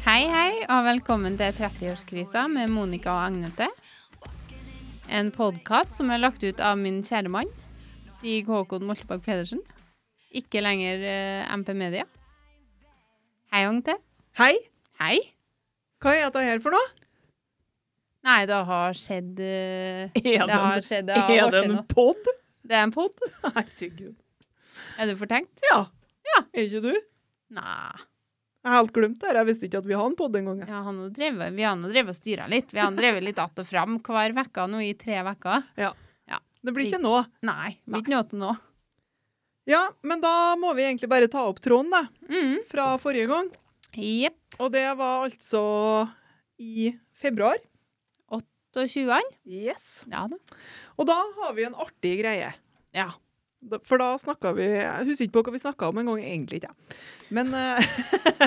Hei og velkommen til 30-årskrisa med Monica og Agnete. En podkast som er lagt ut av min kjære mann, Stig Håkon Moltebakk Pedersen. Ikke lenger eh, MP Media. Hei, Agnete. Hei, Hei. hva er dette her for noe? Nei, det har skjedd eh, Er Det har det, skjedd. en- Det har er det vært en noe. pod? Det er en pod. Herregud. Er du fortenkt? Ja. Ja. Er ikke du? Jeg Nei. har helt glemt det her. Jeg visste ikke at vi hadde en pod engang. jeg. Ja, han har drevet, vi har nå drevet og styra litt. Vi har nå drevet litt att og fram hver uke nå i tre uker. Det blir ikke Liks. nå. Nei. Det blir ikke noe til nå. Ja, men da må vi egentlig bare ta opp tråden, da. Mm. Fra forrige gang. Jepp. Og det var altså i februar. Så 20-an. Yes. Ja da. Og da har vi en artig greie. Ja. Da- For da snakka vi Jeg husker ikke på hva vi snakka om engang, egentlig ikke. jeg. Men eh,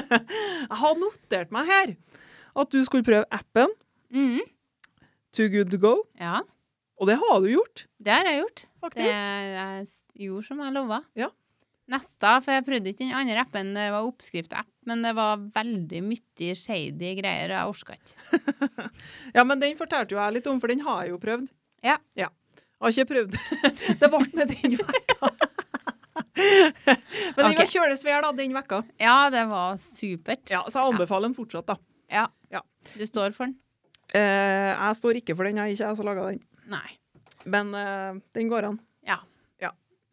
jeg har notert meg her at du skulle prøve appen Mm. Too Good To Go. Ja, Og det har du gjort, det har jeg gjort. Det, faktisk. jeg s- gjorde som jeg lova. Ja. Neste, for jeg prøvde ikke den andre appen, det var oppskriftapp, men det var veldig mye shady greier, og jeg orka ikke. Ja, men den fortalte jo jeg litt om, for den har jeg jo prøvd. Ja. Jeg har ikke prøvd. det ble med den vekka. men den Ok. var kjølesvær, da, den vekka. Ja, det var supert. Ja, så jeg anbefaler den fortsatt, da. Du står for den? Eh, jeg står ikke for den, jeg er ikke jeg som laga den. Nei. Men eh, den går an.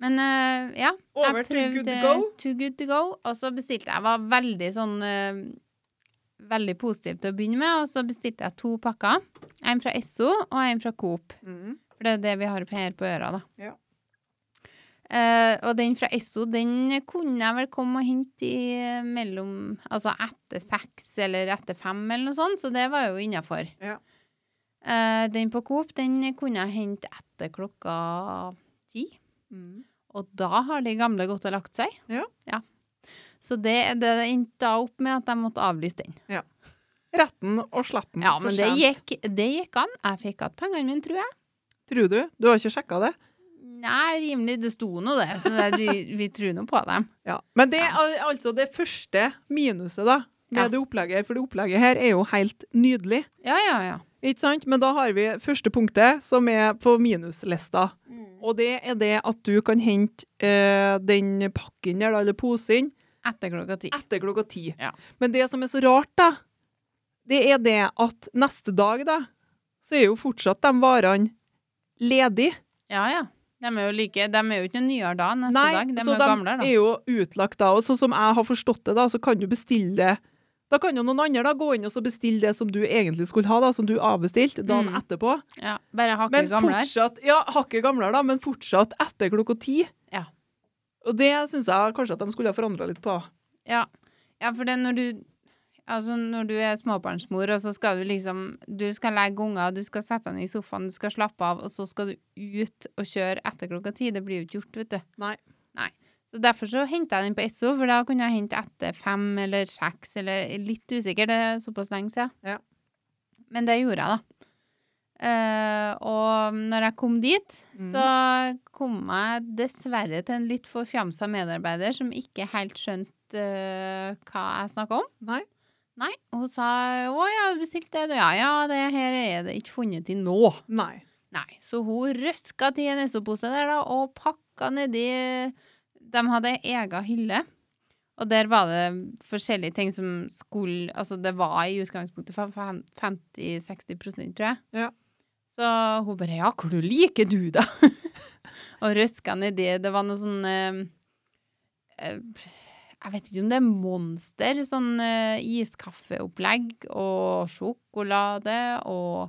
Men eh, ja, Over jeg til Good prøvde To Go. Too Good To Go, og så bestilte jeg. Jeg var veldig sånn eh, Veldig positiv til å begynne med, og så bestilte jeg to pakker. En fra Esso og en fra Coop. Mm. For det er det vi har på- her på øra, da. Ja. Eh, og den fra Esso, den kunne jeg vel komme og hente i eh, mellom Altså etter seks eller etter fem eller noe sånt, så det var jo innafor. Ja. Eh, den på Coop, den kunne jeg hente etter klokka ti. Mm. Og da har de gamle gått og lagt seg. Ja. Så det, det endte da opp med at jeg måtte avlyse den. Retten og sletten Ja, men for det sent. gikk, det gikk an. Jeg fikk igjen pengene mine, tror jeg. Tror du? Du har ikke sjekka det? Nei, rimelig. Det sto nå det, så det, vi, vi tror nå på dem. Ja. Men det er al- altså det første minuset, da, med Ja. det opplegget her, for det opplegget her er jo helt nydelig. Ja, ja, ja. Ikke sant? Men da har vi første punktet, som er på minuslista. Og det er det at du kan hente eh, den pakken der, da, eller posen Etter klokka ti. etter klokka ti. Ja. Men det som er så rart, da, det er det at neste dag, da, så er jo fortsatt de varene ledige. Ja, ja. De er jo like, de er jo ikke noe nyere da neste Nei, dag. De er så jo de gamlere da. er jo utlagt da. Og sånn som jeg har forstått det, da, så kan du bestille det. Da kan jo noen andre da gå inn og så bestille det som du egentlig skulle ha, da, som du avbestilte dagen Mm. etterpå. Ja, bare hakket Men gamlere. fortsatt, ja, hakket gamlere, da, men fortsatt etter klokka ti. Ja. Og det syns jeg kanskje at de skulle ha forandra litt på. Ja. ja, for det er når du Altså, når du er småbarnsmor, og så skal du liksom Du skal legge unger, du skal sette henne i sofaen, du skal slappe av, og så skal du ut og kjøre etter klokka ti. Det blir jo ikke gjort, vet du. Nei. Nei. Så derfor så henta jeg den på SO, for da kunne jeg hente etter fem eller seks, eller litt usikker, det er såpass lenge siden. Ja. Men det gjorde jeg, da. Eh, og når jeg kom dit, Mhm. så kom jeg dessverre til en litt forfjamsa medarbeider som ikke helt skjønte eh, hva jeg snakka om. Nei. Nei, hun sa 'Å ja, du bestilte det, du, ja ja, det her er det ikke funnet til nå'. Nei. Nei, så hun røska til en SO-pose der da, og pakka nedi De hadde ei ega hylle, og der var det forskjellige ting som skulle Altså, det var i utgangspunktet fem- fem- 50-60 tror jeg. Ja. Så hun bare Ja, hvor liker du, da? og røska nedi Det var noe sånn eh, eh, Jeg vet ikke om det er monster. Sånn eh, iskaffeopplegg og sjokolade og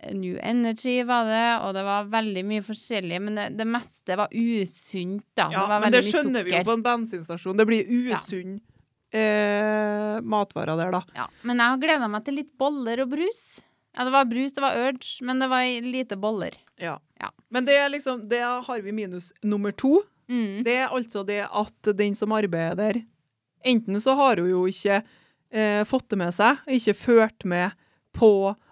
eh, New Energy var det, og det var veldig mye forskjellig, men det, det meste var usunt, da. det Ja, var men det veldig mye skjønner vi jo sukker. på en bensinstasjon. Det blir Ja. usunn eh, matvarer der, da. Ja, men jeg har gleda meg til litt boller og brus. Ja, det var brus, det var urge, men det var lite boller. Ja. Men det er liksom, det har vi minus nummer to. Mm. Det er altså det at den som arbeider, enten så har hun jo ikke eh, fått det med seg, ikke ført med på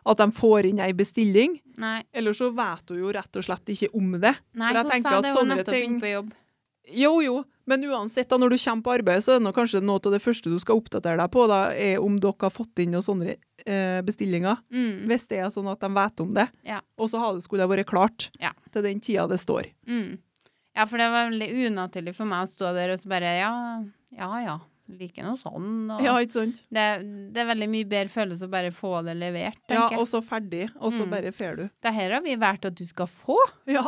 at de får inn ei bestilling, Nei, eller så vet hun jo rett og slett ikke om det. nei For jeg hun tenker sa at det, hun sånne nettopp ting- begynte på jobb. Jo, jo, men uansett, da, når du kommer på arbeid, så er det nå kanskje noe av det første du skal oppdatere deg på, da, er om dere har fått inn noen sånne eh, bestillinger. Mm. Hvis det er sånn at de vet om det. Ja. Og så har det skulle det vært klart Ja. til den tida det står. Mm. Ja, for det var veldig unaturlig for meg å stå der og så bare ja, ja, ja. Liker noe sånn. Og Ja, ikke sant? det, det er veldig mye bedre følelse å bare få det levert, Ja, tenker og jeg. så ferdig, og så Mm. bare fer du. Det her har vi valgt at du skal få Ja.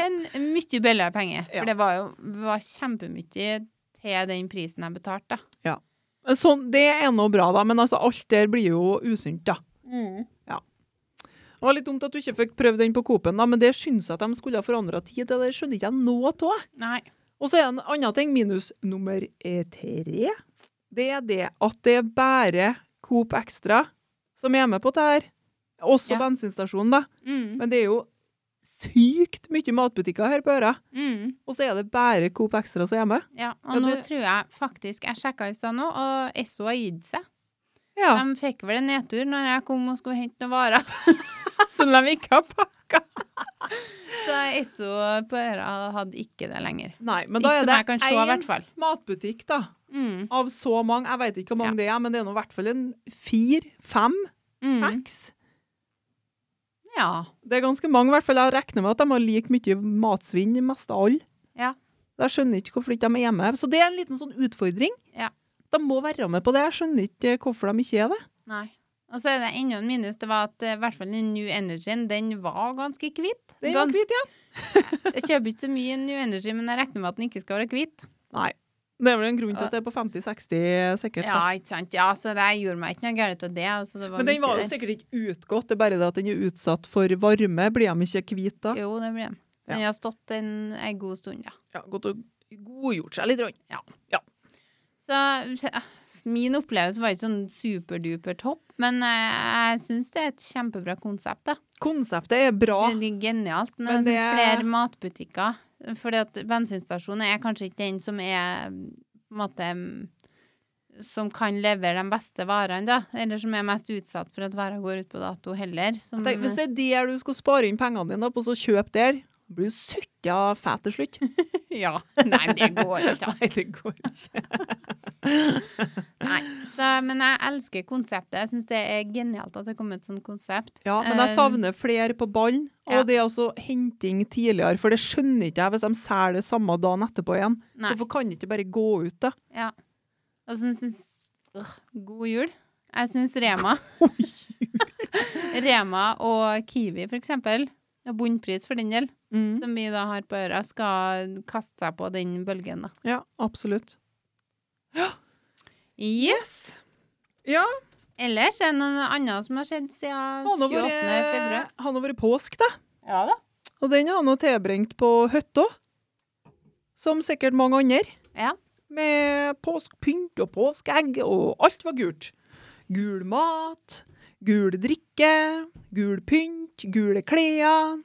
til en mye billigere penge. Ja. For det var jo var kjempemye til den prisen jeg betalte, da. Men Sånn, det er nå bra, da, men altså, alt der blir jo usunt, da. Mm. Det var litt dumt at du ikke fikk prøvd den på Coop-en, da, men det syns jeg at de skulle ha forandra tid. Det der skjønner ikke jeg noe av. jeg. Nei. Og så er det en annen ting, minus nummer eh, tre. Det er det at det er bare Coop Extra som er med på det her. Også Ja. bensinstasjonen, da. Mm. Men det er jo sykt mye matbutikker her på Øra. Mm. Og så er det bare Coop Extra som er med. Ja, og Ja, nå det- tror jeg faktisk Jeg sjekka i stad nå, og Esso har gitt seg. Ja. De fikk vel en nedtur når jeg kom og skulle hente noen varer som de ikke har pakka. Så Esso på Øra hadde ikke det lenger. Nei, men da Ikke er som jeg det kan se, i hvert fall. matbutikk, da. Mm. Av så mange. Jeg veit ikke hvor Ja. mange det er, men det er nå i hvert fall en fire, fem, Mm. seks. Ja. Det er ganske mange, i hvert fall. Jeg regner med at de har like mye matsvinn mest av alle. Ja. Jeg skjønner ikke hvorfor ikke de er med. Så det er en liten sånn utfordring. Ja. De må være med på det. Jeg skjønner ikke eh, hvorfor de ikke er det. Nei. Og så er det enda en minus. Det var at eh, i hvert fall den New Energyen, den var ganske hvit. Det er nok Gans- hvit, ja. Jeg kjøper ikke så mye New Energy, men jeg regner med at den ikke skal være hvit. Nei. Det er vel en grunn til at det er på 50-60 sikkert. Ja, Da. ikke sant. Ja, så det gjorde meg ikke noe galt av det. Altså, det var Men den mye var der. jo sikkert ikke utgått. Det er bare det at den er utsatt for varme. Blir de ikke hvite da? Jo, det blir den. Så den har stått en, en god stund, ja. Ja, godt og godgjort seg litt. Rann. Så eh, min opplevelse var ikke sånn superduper topp, men eh, jeg syns det er et kjempebra konsept, da. Konseptet er bra. Det er genialt. Men, Men jeg syns det- flere matbutikker Fordi at bensinstasjonen er kanskje ikke den som er på en måte mm, som kan levere de beste varene, da. Eller som er mest utsatt for at varer går ut på dato, heller. Som, Tenk, hvis det er der du skal spare inn pengene dine da, på, så kjøp der. Blir du søkka fet til slutt? Ja. Nei, men det går ikke. da. Nei, det går ikke. Nei. Så, men jeg elsker konseptet. Jeg syns det er genialt at det kom et sånt konsept. Ja, men jeg Eh, savner flere på ballen. ja. Og det er altså henting tidligere, for det skjønner ikke jeg hvis de selger det samme dagen etterpå igjen. Nei. Hvorfor kan det ikke bare gå ut, da? Ja. Og så syns øh, God jul. Jeg syns Rema Rema og Kiwi, for eksempel, og Bunnpris for den del, Mm. som vi da har på øra, skal kaste seg på den bølgen, da. Ja, absolutt. Yes! Ja. Ellers er det noe annet som har skjedd siden Han 28. har februar. vært, han har vært påsk, da. Ja da. Og den har han jo tilbringt på hytta. Som sikkert mange andre. Ja. Med påskepynt og påskeegg, og alt var gult. Gul mat, gul drikke, gul pynt, gule klær.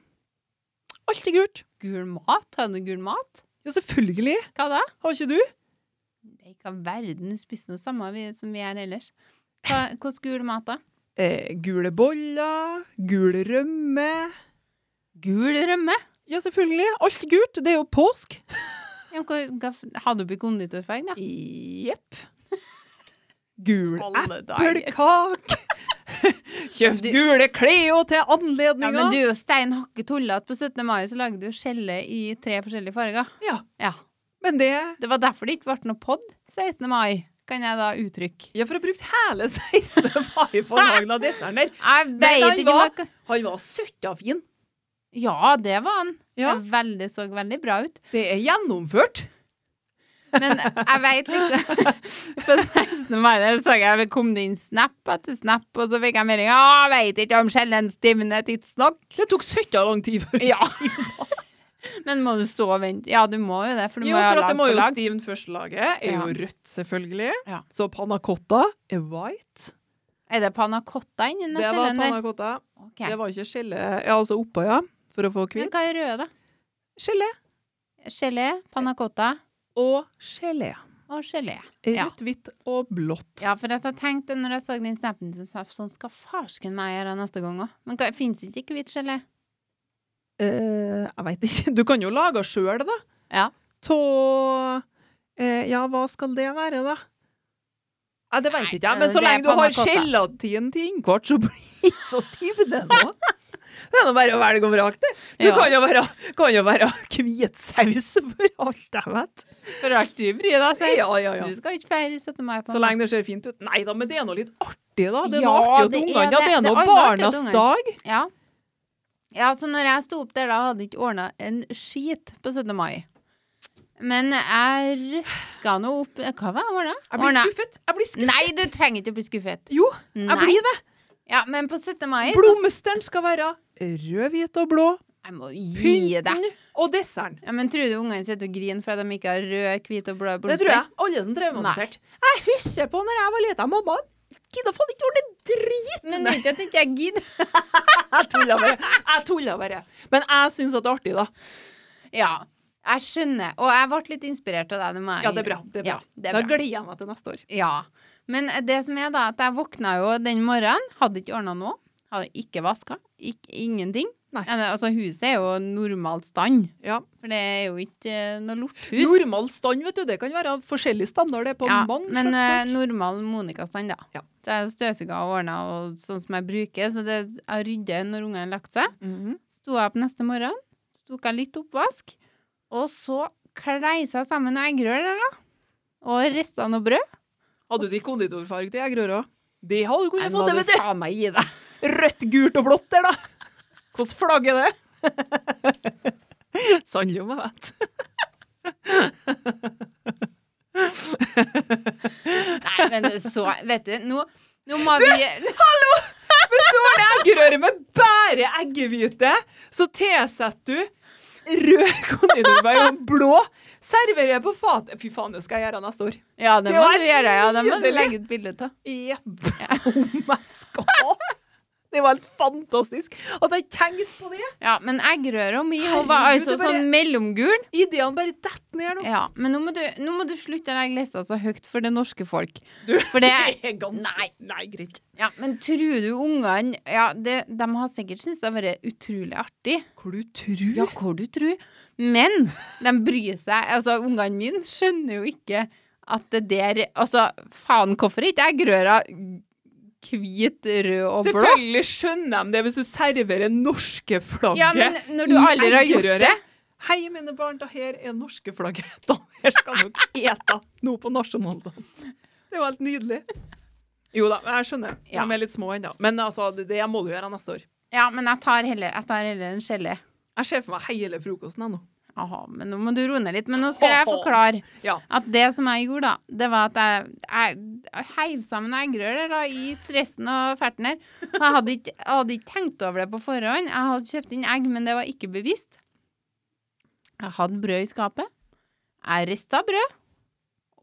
Alt er gult. Gul mat? Har du noe gul mat? Ja, selvfølgelig. Hva da? Har ikke du? Det er ikke all verden du spiser noe samme vi- som vi gjør ellers. Hva, hvordan gul mat, da? Eh, gule boller, gul rømme. Gul rømme? Ja, selvfølgelig. Alt er gult. Det er jo påsk. Ja, hva- hva- Hadde du på konditorfag, da? Jepp. Gul Alle dager. Pølkake! Kjøpt Du- gule klær til Ja, anledninga! men du er jo stein hakke tullete. På 17. mai så lagde du skjelle i tre forskjellige farger. Ja. Ja. Men det Det var derfor det ikke ble noe pod 16. mai, kan jeg da uttrykke. Ja, for jeg brukte hele 16. mai på lagen av desserten der. Jeg han veit ikke var- noe Han var søtta fin. Ja, det var han. Ja. Det veldig, så veldig bra ut. Det er gjennomført. Men jeg veit liksom På 16. mai der så jeg det kom det inn snap etter snap, og så fikk jeg melding «Å, veit ikke om skjellen stivner tidsnok. Det tok søtta lang tid før Ja. Men må du stå og vente? Ja, du må jo det, for du Jo, må jo ha for at lag det må på jo lag. stivne først. Laget er jo Ja. rødt, selvfølgelig. Ja. Så panna cotta er white. Er det panna cotta inni den Det var skjellen der? panna cotta. Ok. Det var ikke skjelle Ja, altså oppå, ja. For å få Men kvitt. hva er røde, da? Gelé Gelé, panna cotta og gelé. og gelé. Ja. Rødt, hvitt og blått. Ja, for at jeg tenkte når jeg så den snappen, så sa jeg, sånn skal farsken meg gjøre neste gang òg. Men hva- finnes det ikke hvitt gelé? Eh, jeg veit ikke. Du kan jo lage sjøl, da. Ja. av eh, Ja, hva skal det være, da? Nei, det veit Nei, eh, ikke jeg, men så det er lenge du har panna cotta. gelatin til innkvart, så blir så stiv den òg. Det er nå bare å velge og vrake, det. Det Ja. kan jo være, kan jo være hvitsaus for alt jeg vet. For alt du bryr deg om. Ja, ja, ja. Du skal ikke feire 17. mai på Så lenge det ser fint ut. Nei da, men det er nå litt artig, da. Det er Ja, noe artig det til er ungene. Ja, det. det er Det er nå artig til barnas ungene. dag. Ja. ja, så når jeg sto opp der, da hadde jeg ikke ordna en skit på 17. mai. Men jeg røska nå opp Hva var det jeg ordna? Jeg blir skuffet. Jeg blir skuffet. Nei, du trenger ikke å bli skuffet. Jo, Nei. jeg blir det. Ja, men på 17. mai så Blomsteren skal være rød, hvit og blå. Jeg må gi deg. Pynten og desserten. Ja, men tror du ungene sitter og griner for at de ikke har rød, hvit og blå Det blomster? tror jeg. Alle som traumatisert. Jeg husker på når jeg var lita, mamma gidda faen ikke ordne drit! Men det er ikke at jeg ikke gidder. Jeg tulla bare. Jeg tulla bare. Men jeg syns at det er artig, da. Ja, jeg skjønner. Og jeg ble litt inspirert av deg. Det må jeg Ja, det er bra. innrømme. Det er bra. Ja, det Da er bra. gleder jeg meg til neste år. Ja. Men det som er, da, at jeg våkna jo den morgenen, hadde ikke ordna noe. Hadde ikke vaska. Ikke, ingenting. Nei. Eller, Altså, huset er jo normal stand. Ja. For det er jo ikke eh, noe lorthus. Normal stand, vet du. Det kan være forskjellig standard det er på ja, mange men eh, slags folk. normal Monica-stand, da. Ja. Så jeg støvsuga og ordna og sånn som jeg bruker. Så det, jeg rydder når ungene har lagt seg. Mhm. Sto jeg opp neste morgen, så tok jeg litt oppvask, og så kleisa jeg sammen noen eggerør der, da. Og rista noe brød. Hadde du konditorfarge til eggerøra? Det hadde du Nei, kunnet må fått til, du vet du! faen meg gi deg. Rødt, gult og blått der, da. Hvordan flagg er det? Sannelig om jeg vet. Nei, men så Vet du, nå, nå må vi Hallo! Hvis du har det eggerøre med bare eggehvite, så tilsetter du rød konditorfarge og blå. Serverer på fatet. Fy faen, det skal jeg gjøre neste år. Ja, det Det må var du gjøre. Ja, det må du nydelig. legge ut bilde av. Jepp. Om jeg skal. Det var helt fantastisk at jeg tenkte på det. Ja, men eggerøra mi hun var Herregud, altså det bare- sånn mellomgul. Ideene bare detter ned nå. Ja, men nå må du, nå må du slutte å legge lista så høyt for det norske folk. Du, For det er ganske Nei. greit. Ja, men tror du ungene Ja, det, de har sikkert syntes det har vært utrolig artig. Hva du tror? Ja, hva du tror. Men de bryr seg. Altså, ungene mine skjønner jo ikke at det der Altså, faen, hvorfor er ikke eggerøra hvit, rød og blå? Selvfølgelig skjønner de det hvis du serverer norske flagget Ja, men når du aldri har gjort det Hei, mine barn, da her er norske flagget. Da her skal dere ete noe på nasjonaldagen. Det var helt nydelig. Jo da, jeg skjønner. Ja. De er litt små ennå. Men altså, det, det må du gjøre neste år. Ja, men jeg tar heller, jeg tar heller en gelé. Jeg ser for meg hele frokosten jeg nå. Aha, men nå må du roe ned litt. Men nå skal jeg forklare Ja. at det som jeg gjorde, da, det var at jeg, jeg, jeg heiv sammen eggerører da, i stressen og ferten her. Og Jeg hadde ikke, jeg hadde ikke tenkt over det på forhånd. Jeg hadde kjøpt inn egg, men det var ikke bevisst. Jeg hadde brød i skapet. Jeg rista brød.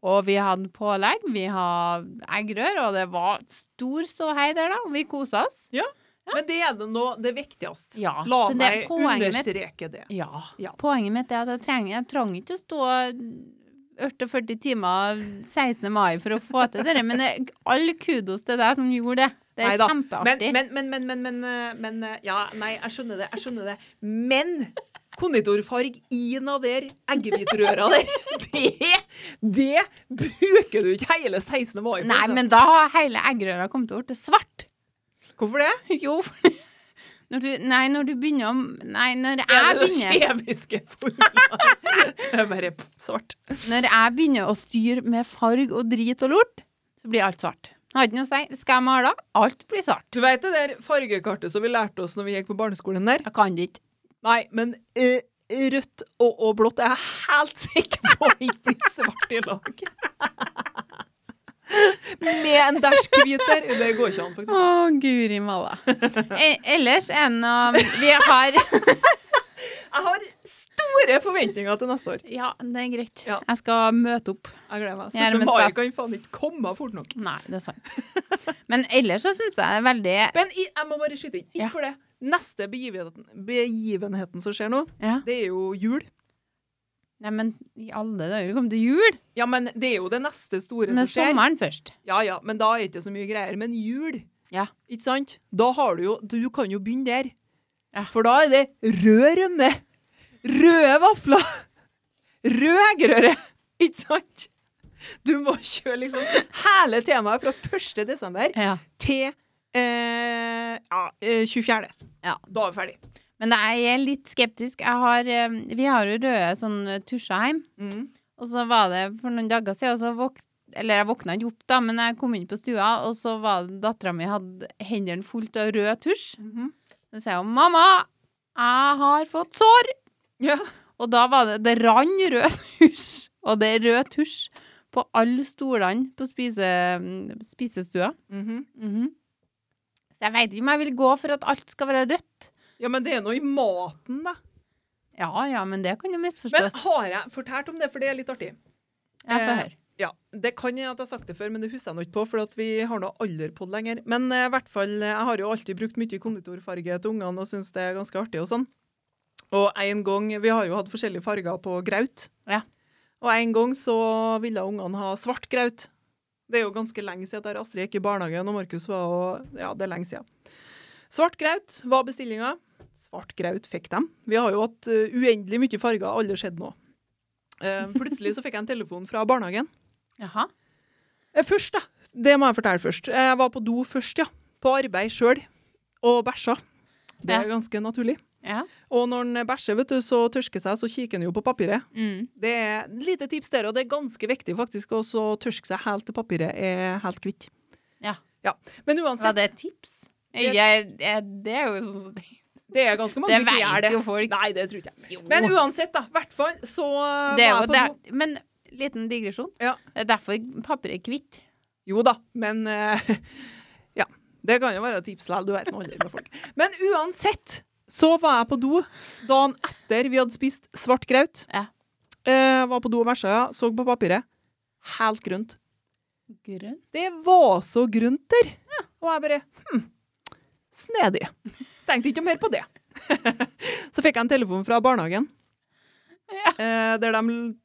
Og vi hadde pålegg, vi hadde eggerør, og det var stor ståhei der, da. Vi kosa oss. Men det er det nå det viktigste. Ja. La så det er meg poenget mitt. understreke det. Ja. Ja. Poenget mitt er at jeg trenger, jeg trenger ikke å stå 48 timer 16. mai for å få til det, men det- all kudos til deg som gjorde det. Det er Neida. kjempeartig. Men, men, men, men, men, men, men, eh, Ja, nei, jeg skjønner det. Jeg skjønner det. Men konditorfarg i na der eggehvitrøra der, det, det bruker du ikke hele 16. mai. altså. for Nei, eksempel. men da har hele eggerøra kommet til å bli svart. Hvorfor det? Jo, for når du, nei, når du begynner om Nei, når jeg Er det begynner noen kjemiske formler? Så er det bare pff, svart. Når jeg begynner å styre med farg og drit og lort, så blir alt svart. Jeg har ikke noe å si. Skal jeg male, alt blir svart. Du vet det der fargekartet som vi lærte oss når vi gikk på barneskolen der? Jeg kan det ikke. Nei, men eh, rødt og, og blått er jeg helt sikker på ikke blir svart i lag. Med en dæsj hvit der. Det går ikke an, Å, faktisk. guri malla. E ellers er det noe Vi har Jeg har store forventninger til neste år. Ja, det er greit. Ja. Jeg skal møte opp. Jeg gleder meg. Jeg er 17. mitt mai best. kan faen ikke komme fort nok. Nei, det er sant. Men ellers så syns jeg det er veldig Men i- jeg må bare skyte inn. Ikke Ja. for det. Neste begivenheten, begivenheten som skjer nå, Ja. det er jo jul. Nei, men i alle dager, kom til jul. Ja, men det er jo det neste store Men det er som skjer. sommeren først. Ja, ja, men da er det ikke så mye greier. Men jul, Ja. ikke sant? Da har du jo Du kan jo begynne der. Ja. For da er det rød rømme, røde vafler, Rød eggerøre! Ikke sant? Du må kjøre liksom hele temaet fra 1. desember Ja. til eh, ja, eh, 24. Ja. Da er vi ferdig. Men jeg er litt skeptisk. Jeg har, eh, vi har jo røde sånn eh, tusjer hjemme. Mm. Og så var det for noen dager siden, og så våk eller jeg våkna ikke opp, da, men jeg kom inn på stua, og så var det dattera mi hadde hendene fullt av rød tusj. Mhm. Så sier hun 'mamma, jeg har fått sår'. Ja. Og da var det Det rann rød tusj. Og det er rød tusj på alle stolene på spise, spisestua. Mhm. Mhm. Så jeg veit ikke om jeg vil gå for at alt skal være rødt. ja, men det er noe i maten, da. Ja ja, men det kan jo Men misforstås. har jeg fortalt om det, for det er litt artig? Jeg får eh, høre. Ja, Det kan hende at jeg har sagt det før, men det husker jeg nå ikke på. For at vi har nå alderpod lenger. Men eh, i hvert fall, eh, jeg har jo alltid brukt mye konditorfarge til ungene og syns det er ganske artig og sånn. Og en gang, Vi har jo hatt forskjellige farger på graut. Ja. Og en gang så ville ungene ha svart graut. Det er jo ganske lenge siden der Astrid gikk i barnehagen og Markus var og, Ja, det er lenge siden. Svart graut var bestillinga. Svart graut fikk dem. Vi har jo hatt eh, uendelig mye farger, alle skjedd nå. Eh, plutselig så fikk jeg en telefon fra barnehagen. Jaha. Eh, Først, da. Det må jeg fortelle først. Jeg var på do først, ja. På arbeid sjøl. Og bæsja. Det er ganske naturlig. Ja. Og når en bæsjer, vet du, så tørsker seg, så kikker en jo på papiret. Mm. Det er et lite tips der, og det er ganske viktig faktisk også å tørke seg helt til papiret er helt kvitt. Ja. Men Var uansett, det et tips? Jeg, jeg, det er jo sånn det er ganske mange Det som ikke gjør veit det. jo folk. Nei, det tror ikke jeg. Jo. Men uansett, da. I hvert fall så var det er jo jeg på det. do. Men liten digresjon. Ja. Det er derfor papiret er hvitt. Jo da, men eh, Ja. Det kan jo være et tips likevel, du vet nå aldri med folk. Men uansett så var jeg på do dagen etter vi hadde spist svart graut. Ja. Eh, var på do og bæsja, ja. Så på papiret. Helt grønt. Grønn. Det var så grønt der! Og jeg bare Hm. Snedig. Tenkte ikke mer på det. så fikk jeg en telefon fra barnehagen Ja. eh, der de l-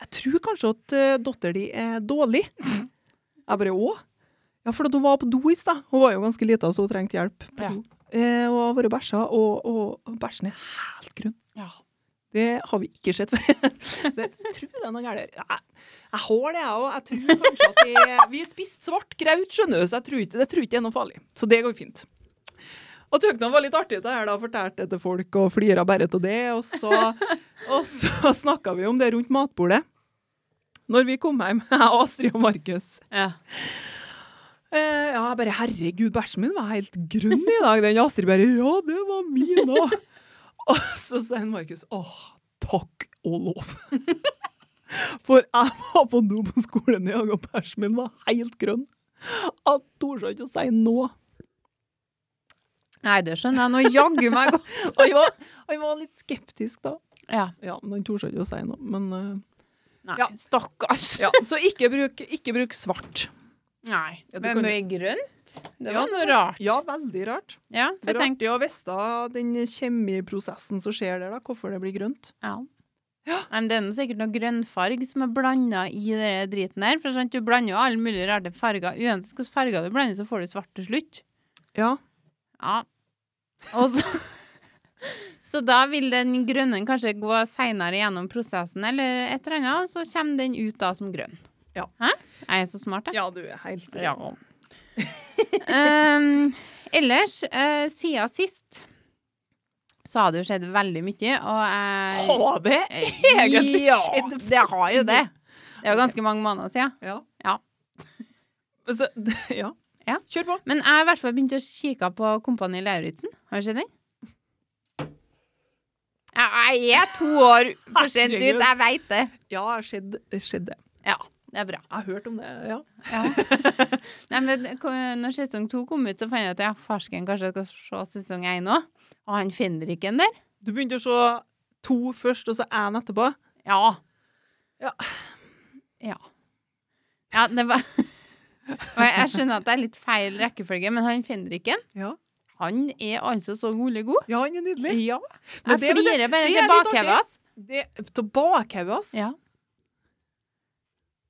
Jeg tror kanskje at eh, datteren din er dårlig. Mhm. Jeg bare Å? Ja, for at hun var på do i stad. Hun var jo ganske lita, så hun trengte hjelp. på Ja. do. Eh, og har vært bæsja, og, og, og bæsjen er helt grønn. Ja. Det har vi ikke sett før. det jeg tror det er noe galt her. Nei, Jeg har det, jeg òg. Jeg tror kanskje at det Vi spiste svart graut, skjønner du, så jeg tror ikke, jeg tror ikke det er noe farlig. Så det går fint. Og Tøknan var litt artig til det her, da. Fortalte det til folk og flira bare av det. Og så, og så snakka vi om det rundt matbordet. Når vi kom hjem, jeg og Astrid og Markus. Ja. Eh, ja, jeg bare herregud, bæsjen min var helt grønn i dag. Den Astrid bare ja, det var min òg. og så sier han Markus åh, takk og lov. For jeg var på do på skolen i dag, og bæsjen min var helt grønn. Jeg torde ikke å si noe. Nei, det skjønner jeg nå jaggu meg godt. Han var, han var litt skeptisk da. Ja. Ja, men han torde ikke å si noe. Men eh, Nei, Ja. stakkars. ja, så ikke bruk, ikke bruk svart. Nei. Ja, du Men kan med grønt? Det Ja, var noe rart. Ja, veldig rart. Ja, Det for er tenk artig å vite den kjemiprosessen som skjer der, da, hvorfor det blir grønt. ja. Ja. Nei, Men det er nå sikkert noe grønnfarg som er blanda i den driten her. For sant, du blander jo alle mulige rare farger. Uansett hvilke farger du blander, så får du svart til slutt. Ja. Ja. Og så, så da vil den grønne kanskje gå seinere gjennom prosessen eller et eller annet, og så kommer den ut da som grønn. Ja. Hæ? Er jeg så smart, da? Ja, du er helt Ehm, ellers, eh, siden sist så har det jo skjedd veldig mye, og jeg Ha det! egentlig ja, skjedd det har jo det. Det er jo ganske mange måneder siden. Ja. Ja. Så, d- ja. Ja. Kjør på. Men jeg har i hvert fall begynt å kikke på Kompani Lauritzen. Har du sett den? Jeg jeg er to år for sent ut, Herregud. jeg veit det. Ja, skjedde skjedd det. Ja, det er bra. Jeg har hørt om det, ja. Nei, men ko- når sesong to kom ut, så fant jeg at ja, farsken kanskje jeg skal se sesong én òg. Og han fenriken der. Du begynte å se to først, og så én etterpå. Ja. Ja. Ja. Ja, det var Og jeg jeg skjønner at det er litt feil rekkefølge, men han fenriken, Ja, han er altså så rolig god. ja han er nydelig. Ja. Jeg Men det- men det- flirer bare det er til litt artig. bakhevet hans. Det Tilbakehodet hans. Ja.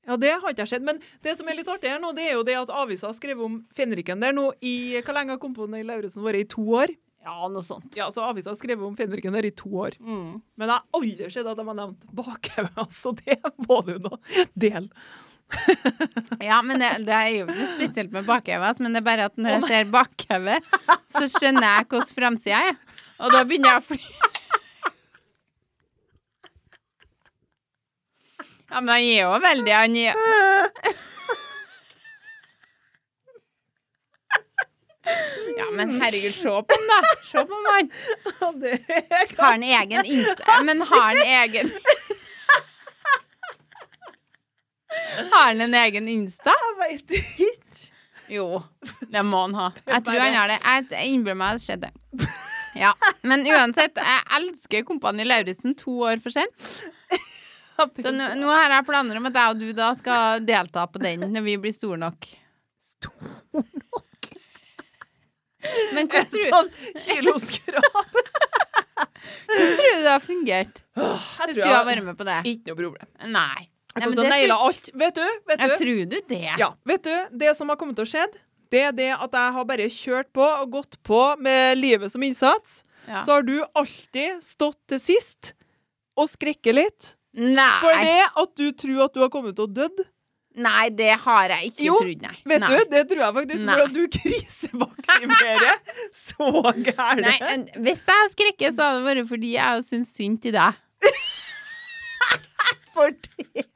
Ja, det har ikke jeg sett. Men det som er litt artig her nå, det er jo det at avisa har skrevet om fenriken der nå i Hvor lenge har Kompani Lauritzen vært? I to år? Ja, noe sånt. Ja, så Avisa har skrevet om fenriken her i to år. Mm. Men jeg har aldri sett at de har nevnt bakhauge. Altså, det må du nå dele. Ja, men det, det er jo noe spesielt med bakhauge, altså, men det er bare at når jeg ser bakhauge, så skjønner jeg hvordan framsida er. Og da begynner jeg å fly. Ja, men han er jo veldig Han er Ja, men herregud, se på han, da. Se på han. Ja, det er Har han egen Insta? Men har han egen Har han en egen Insta? Jeg veit ikke. Jo, det må han ha. Jeg tror bare- han har det. Jeg- Jeg innbiller meg at det skjedde. Ja, Men uansett, jeg elsker Kompani Lauritzen to år for sent. Så nå, nå har jeg planer om at jeg og du da skal delta på den når vi blir store nok. Men hva En tror, sånn kiloskrap. hva tror du det har fungert? Jeg Hvis du har vært med på det? Ikke noe problem. Nei. Jeg Nei kommer men til å det naile tror, alt. Vet du? Vet jeg du? tror du det. Ja, vet du, det som har kommet til å skjedd, det er det at jeg har bare kjørt på og gått på med livet som innsats. Ja. Så har du alltid stått til sist og skrekke litt. For Nei, det at du tror at du har kommet til å dødd, nei, det har jeg ikke Jo, trodd, nei. vet nei. du, det tror jeg faktisk, Nei. for at du krisevaksinerer så gærent. Nei, en- hvis jeg skrekker, så hadde det vært fordi jeg syns synd til deg. for det.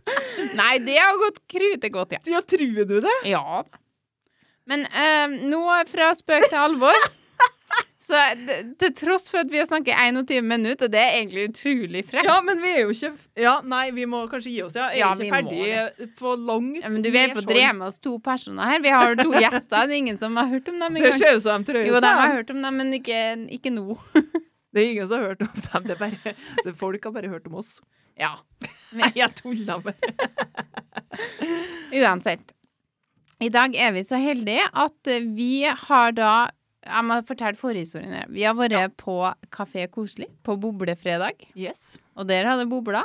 Nei, det har gått krutegodt, ja. Ja, tror du det? Ja. Men eh, nå fra spøk til alvor. Så det- til tross for at vi har snakket 21 minutter, og det er egentlig utrolig frekt. Ja, men vi er jo ikke Ja, nei, vi må kanskje gi oss, ja. Er Ja, vi vi må ikke ferdig på langt. Ja, men du vi er på å nedskjold. dreie med oss to personer her. Vi har to gjester. Det er ingen som har hørt om dem Det engang. ser ut som de trøyer Jo, de seg. har hørt om dem, men ikke, ikke nå. Det er ingen som har hørt om dem. Det er bare, det folk har bare hørt om oss. Ja. Nei, jeg tulla bare. Uansett. I dag er vi så heldige at eh, vi har da Jeg må fortelle forhistorien her. Vi har vært på Kafé Koselig på boblefredag, Yes. og der hadde bobla.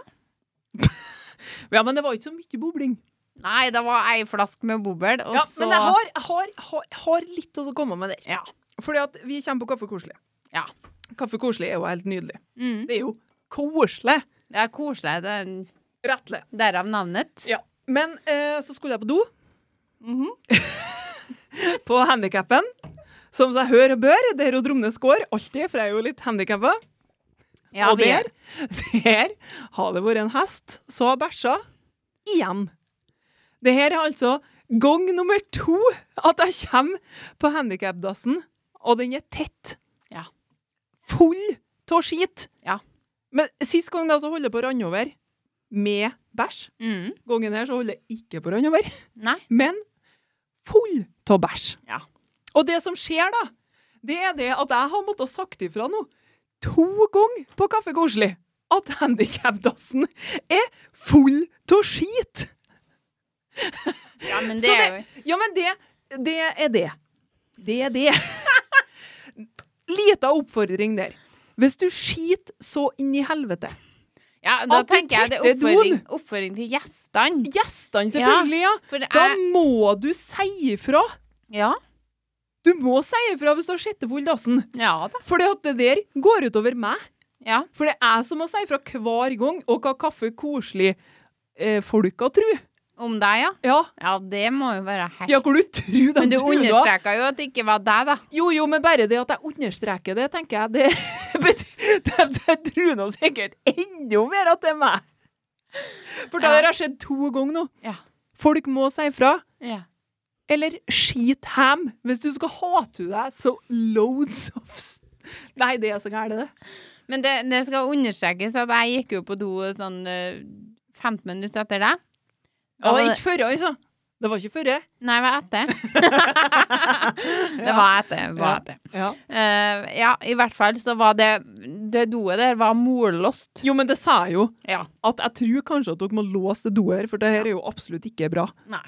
Ja, men det var ikke så mye bobling. Nei, det var ei flaske med bobbel, og Ja, så men jeg har, jeg har, har, har litt å komme med der. Ja. Fordi at vi kommer på Kaffe Koselig. Ja. Kaffe Koselig er jo helt nydelig. mm, Det er jo koselig. Det er koselig. Det er Rettelig. derav navnet. Ja. Men eh, så skulle jeg på do, Mhm. på handikappen. Som seg hør og bør, der hun Dromnes går, alltid, for jeg er jo litt handikappa. Ja, og vi der, er. der har det vært en hest som har bæsja igjen. Det her er altså gang nummer to at jeg kommer på handikapdassen, og den er tett. Ja. Full av skit. Ja. Men sist gang da så holdt det på å ranne over med bæsj. Mm. Gangen her så holder det ikke på å ranne over, Nei. men full av bæsj. Ja. Og det som skjer da, det er det at jeg har måttet sagt ifra nå to ganger på Kaffe Koselig at handikapdassen er full av skit. Ja, men Så det er jo Ja, men det, det er det. Det er det. Lita oppfordring der. Hvis du skiter så inn i helvete Ja, da At du tenker jeg det er tetter doen. oppfordring, oppfordring til gjestene. Gjestene, selvfølgelig, ja. For det Da er må du si ifra. Ja. Du må si ifra hvis du har skittefull dassen. Ja da. For det der går utover meg. Ja. For det er som å si fra hver gang, og hva kaffe koselig eh, folka tror. Om deg, ja. Ja, Ja, det må jo være helt ja hvor du tror de Men du tror da. understreka jo at det ikke var deg, da. Jo, jo, men bare det at jeg understreker det, tenker jeg, det betyr De de tror nå sikkert enda mer at det er meg. For det Ja. har jeg skjedd to ganger nå. Ja. Folk må si fra. Ja. Eller skit ham, hvis du skal hate deg så loads of s- Nei, det er så gærent, det. Men det, det skal understrekes at jeg gikk jo på do sånn eh, 15 minutter etter deg. Det Da var var det- ikke før, altså. Det var ikke før. Nei, hva etter? det var etter. Var Ja. etter. Ja. Eh, ja, i hvert fall så var det Det doet der var morlåst. Jo, men det sa jeg jo. Ja. At jeg tror kanskje at dere må låse det doet her, for det her er jo absolutt ikke bra. Nei.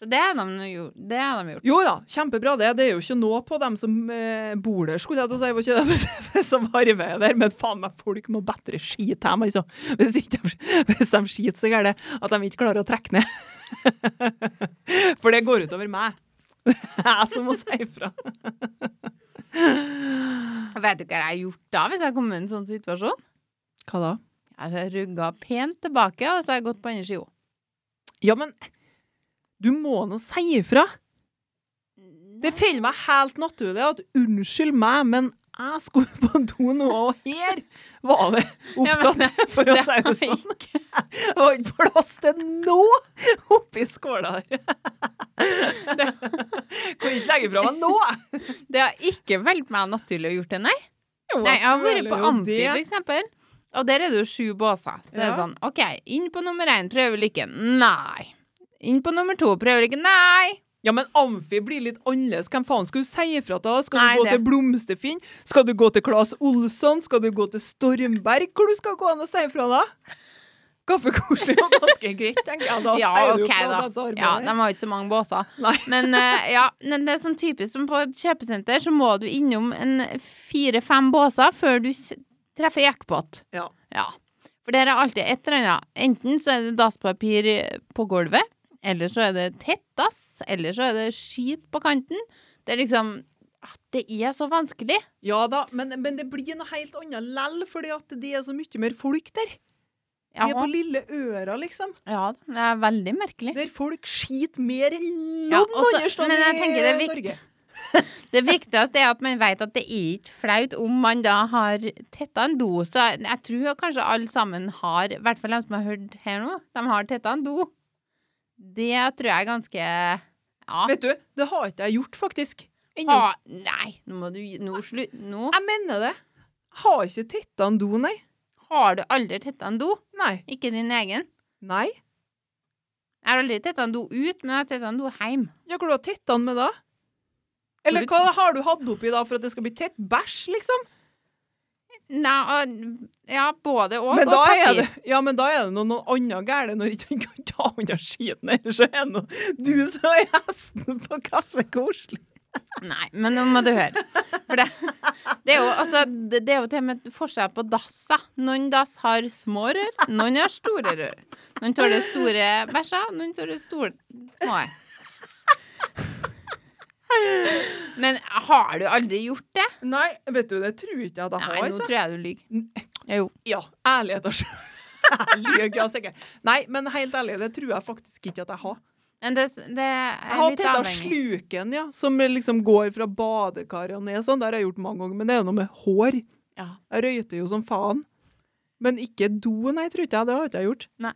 Så det har de gjort. Det har de gjort. Jo da, kjempebra det. Det er jo ikke noe på dem som eh, bor der, skulle jeg til å si. Det var ikke dem som arbeider der, men faen meg, folk må bedre skite hjem, altså. Hvis, ikke de, hvis de skiter, så er det at de ikke klarer å trekke ned. For det går utover meg. Det er jeg som må si ifra. Jeg vet ikke hva jeg hadde gjort da hvis jeg kom i en sånn situasjon. Hva da? Jeg hadde rugga pent tilbake, og så har jeg gått på andre sida. Ja, men du må nå si ifra. Det faller meg helt naturlig at unnskyld meg, men jeg skulle på do nå, og her var det opptatt, Ja, for å det si det var sånn. Det var ikke plass til noe oppi skåla her. Det- Kan ikke legge fra meg nå. Det har ikke felt meg naturlig å gjort det, nei. Nei, jeg har vært på Amfi, for eksempel. Og der er det jo sju båser. Så det er Ja. sånn, OK, inn på nummer én, prøver lykken. Nei. Inn på nummer to, prøver lykken. Nei. Ja, men Amfi blir litt annerledes. Hvem faen skal du si ifra til? da? Skal Nei, du gå det- til Blomsterfinn? Skal du gå til Claes Olsson? Skal du gå til Stormberg? Hvor du skal gå an og si ifra da? Kaffekoselig og ganske greit, tenker jeg. Da Ja, sier du OK, fra da. dem som arbeider. Ja, de har jo ikke så mange båser. Nei. Men eh, ja, men det er sånn typisk som på et kjøpesenter, så må du innom en fire-fem båser før du kj- treffer jackpot. Ja. Ja. For der er alltid et eller annet. Enten så er det dasspapir eh, på gulvet, eller så er det tett dass, eller så er det skit på kanten. Det er liksom ah, Det er så vanskelig. Ja da, men, men det blir noe helt annet lell, fordi at det er så mye mer folk der. Vi Ja, er på lille øra, liksom. ja det er veldig merkelig. Der folk skiter mer enn Ja, noen også- andre steder men jeg tenker det er viktig- Det viktigste er at man vet at det er ikke flaut om man da har tetta en do. Så jeg, jeg tror kanskje alle sammen har, i hvert fall de som har hørt her nå, de har tetta en do. Det tror jeg er ganske Ja. Vet du, det har ikke jeg gjort, faktisk. Ennå. Ha, nei, nå må du Nå slutt. Nå Jeg mener det. Har ikke tetta en do, nei. har du aldri tetta en do. Nei. Ikke din egen. Nei. Jeg har aldri tetta en do ut, men jeg har tetta en do hjem. Ja, hvor har du tetta den med da? Eller Hvor hva har du hatt oppi da for at det skal bli tett bæsj, liksom? Nei, og- ja, både og. Men og da, er papir. det, ja, men da er det noe, noe annet galt når ikke han kan ta unna skiten. Ellers så er det noe du som er hesten på kaffekoselig. Nei, men nå må du høre. For det, det, er jo, altså, det, det er jo til og med forskjell på dasser. Noen dass har små rør, noen har store rør. Noen tåler store bæsjer, noen tåler store, små. Men har du aldri gjort det? Nei, vet du, det tror ikke jeg at jeg har. Nei, nå altså. tror jeg du lyver. Jo. Ja, ærlighet er sjøl. Lyg, ja, sikkert. Nei, men helt ærlig, det tror jeg faktisk ikke at jeg har. Men det, det Jeg er har litt tetta avhengig. sluken, ja, som liksom går fra badekaret og ned sånn. Det har jeg gjort mange ganger, men det er jo noe med hår. Ja. Jeg røyter jo som faen. Men ikke do, nei, tror ikke jeg. Det har ikke jeg gjort. Nei.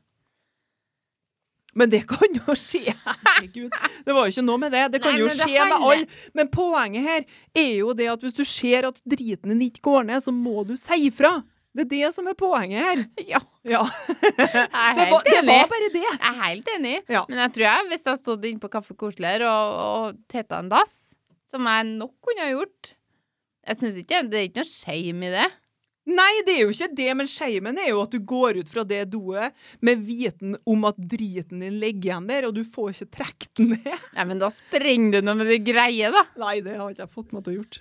Men det kan jo skje. Herregud. Det var jo ikke noe med det. Det kan Nei, jo men det skje med handler- alle. Men poenget her er jo det at hvis du ser at driten din ikke går ned, så må du si ifra. Det er det som er poenget her. ja. Ja, Jeg er det var, helt det enig. var bare det. Jeg er helt enig, Ja. men jeg tror jeg, hvis jeg stod inne på Kaffe Koseligere og, og tetta en dass, som jeg nok kunne ha gjort Jeg synes ikke Det er ikke noe shame i det. Nei, det er jo ikke det, men shamen er jo at du går ut fra det doet med viten om at driten din ligger igjen der, og du får ikke trukket den ned. Nei, men da sprenger det noe med det greie, da. Nei, det har ikke jeg fått meg til å gjort.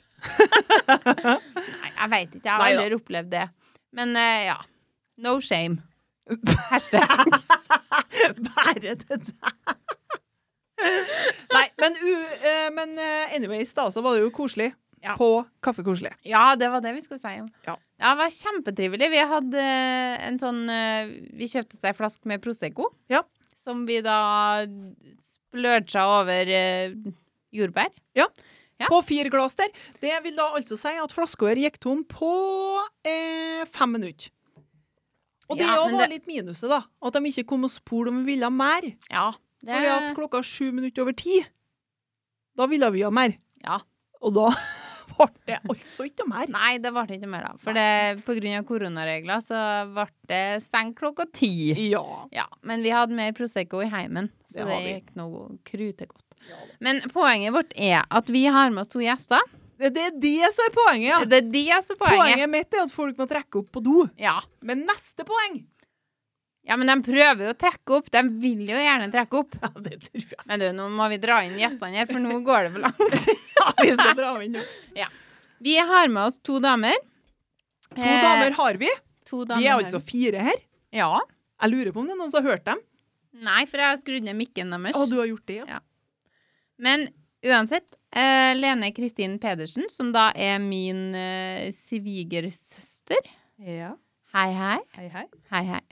Nei, jeg veit ikke. Jeg har Nei da. aldri opplevd det. Men eh, ja. No shame. Hashtag. Bare det der. Nei, men, u, eh, men eh, anyways, da, så var det jo koselig. Ja. På Kaffekoselig. Ja, det var det vi skulle si om. Ja. det var kjempetrivelig. Vi hadde eh, en sånn eh, Vi kjøpte oss ei flaske med Prosecco. Ja. Som vi da splørja over eh, jordbær. Ja. På fire glass der. Det vil da altså si at flaska her gikk tom på eh, fem minutter. Og det Ja, jo men var det- litt minuset, da. At de ikke kom og spurte om vi ville ha mer. Ja. Det, Fordi at klokka sju minutter over ti, da ville vi ha mer. Ja. Og da ble det altså ikke mer. Nei, det ble ikke mer, da. For det, på grunn av koronaregler så ble det stengt klokka ti. Ja. Ja, men vi hadde mer Prosecco i heimen, så Det det, har vi. gikk noe krutegodt. Men poenget vårt er at vi har med oss to gjester. Det, det er det som er poenget, ja. Det er det som er Poenget. poenget. mitt er at folk må trekke opp på do. Ja. Men neste poeng ja, men de prøver jo å trekke opp. De vil jo gjerne trekke opp. Ja, det tror jeg. Men du, nå må vi dra inn gjestene her, for nå går det for langt. Ja, vi skal dra inn nå. Vi har med oss to damer. Eh, To damer har vi. to damer Eh, Vi er har altså fire her. Ja. Jeg lurer på om det er noen som har hørt dem. Nei, for jeg har skrudd ned mikken deres. Å, du har gjort det, ja. Men uansett, eh, Lene Kristin Pedersen, som da er min eh, svigersøster. Ja. Hei, hei. Hei, hei. Hei, hei.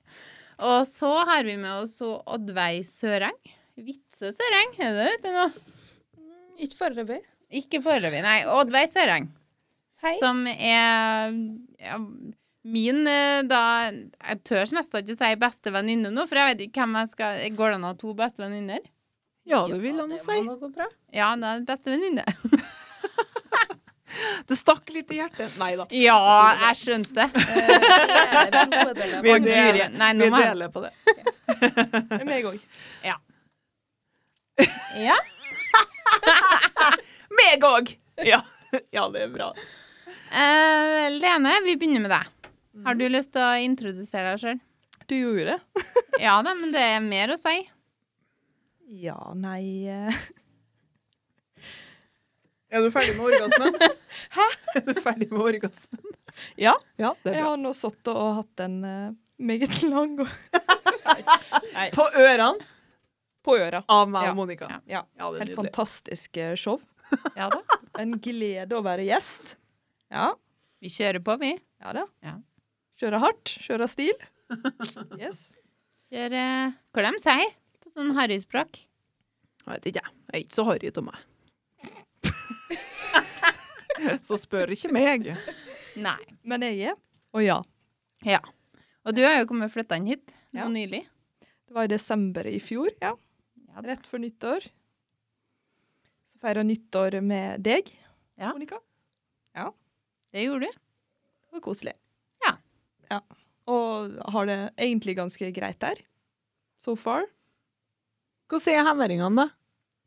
Og så har vi med oss så Oddveig Søreng. Vitse Søreng, er det ute nå? Ikke foreløpig. Ikke foreløpig, nei. Oddveig Søreng, Hei. som er ja, min eh, da Jeg tør nesten ikke si beste venninne nå, for jeg vet ikke hvem jeg skal Går det an å ha to beste venninner? Ja, det vil han jo si. Det må gå bra. Ja, da er det beste venninne. Det stakk litt i hjertet. Nei da. Ja, jeg skjønte. Eh, det er en god del av Vi Å, det. deler- Guri. Nei, Vi nå må jeg deler på det. Meg òg. Ja. Meg òg! Ja. ja, det er bra. Eh, Lene, vi begynner med deg. Har du lyst til å introdusere deg sjøl? Du gjorde det. Ja da, men det er mer å si. Ja, nei eh, Er du ferdig med orgasmen? Hæ? Er du ferdig med orgasmen? Ja, Ja, det jeg har nå sittet og hatt en eh, meget lang og På ørene på øra. av meg Ja. og Monica. Ja. Ja. Ja, det er Helt nydelig. fantastisk eh, show. Ja da. En glede å være gjest. Ja. Vi kjører på, vi. Ja da. Ja. Kjøre hardt, kjøre stil. Yes. Kjøre Hva de sier eh, på sånn harryspråk? Jeg vet ikke, jeg. Jeg er ikke så harry av meg. så spør ikke meg. Nei. Men jeg er. Og ja. Ja. Og du har jo kommet flyttende hit nå Ja. nylig. Det var i desember i fjor, Ja ja. da. Rett før nyttår. Så feira nyttår med deg, Ja. Monica. Det gjorde du. Det var koselig. Ja. ja. Og har det egentlig ganske greit der. So far. Hvordan er hemmeringene, da?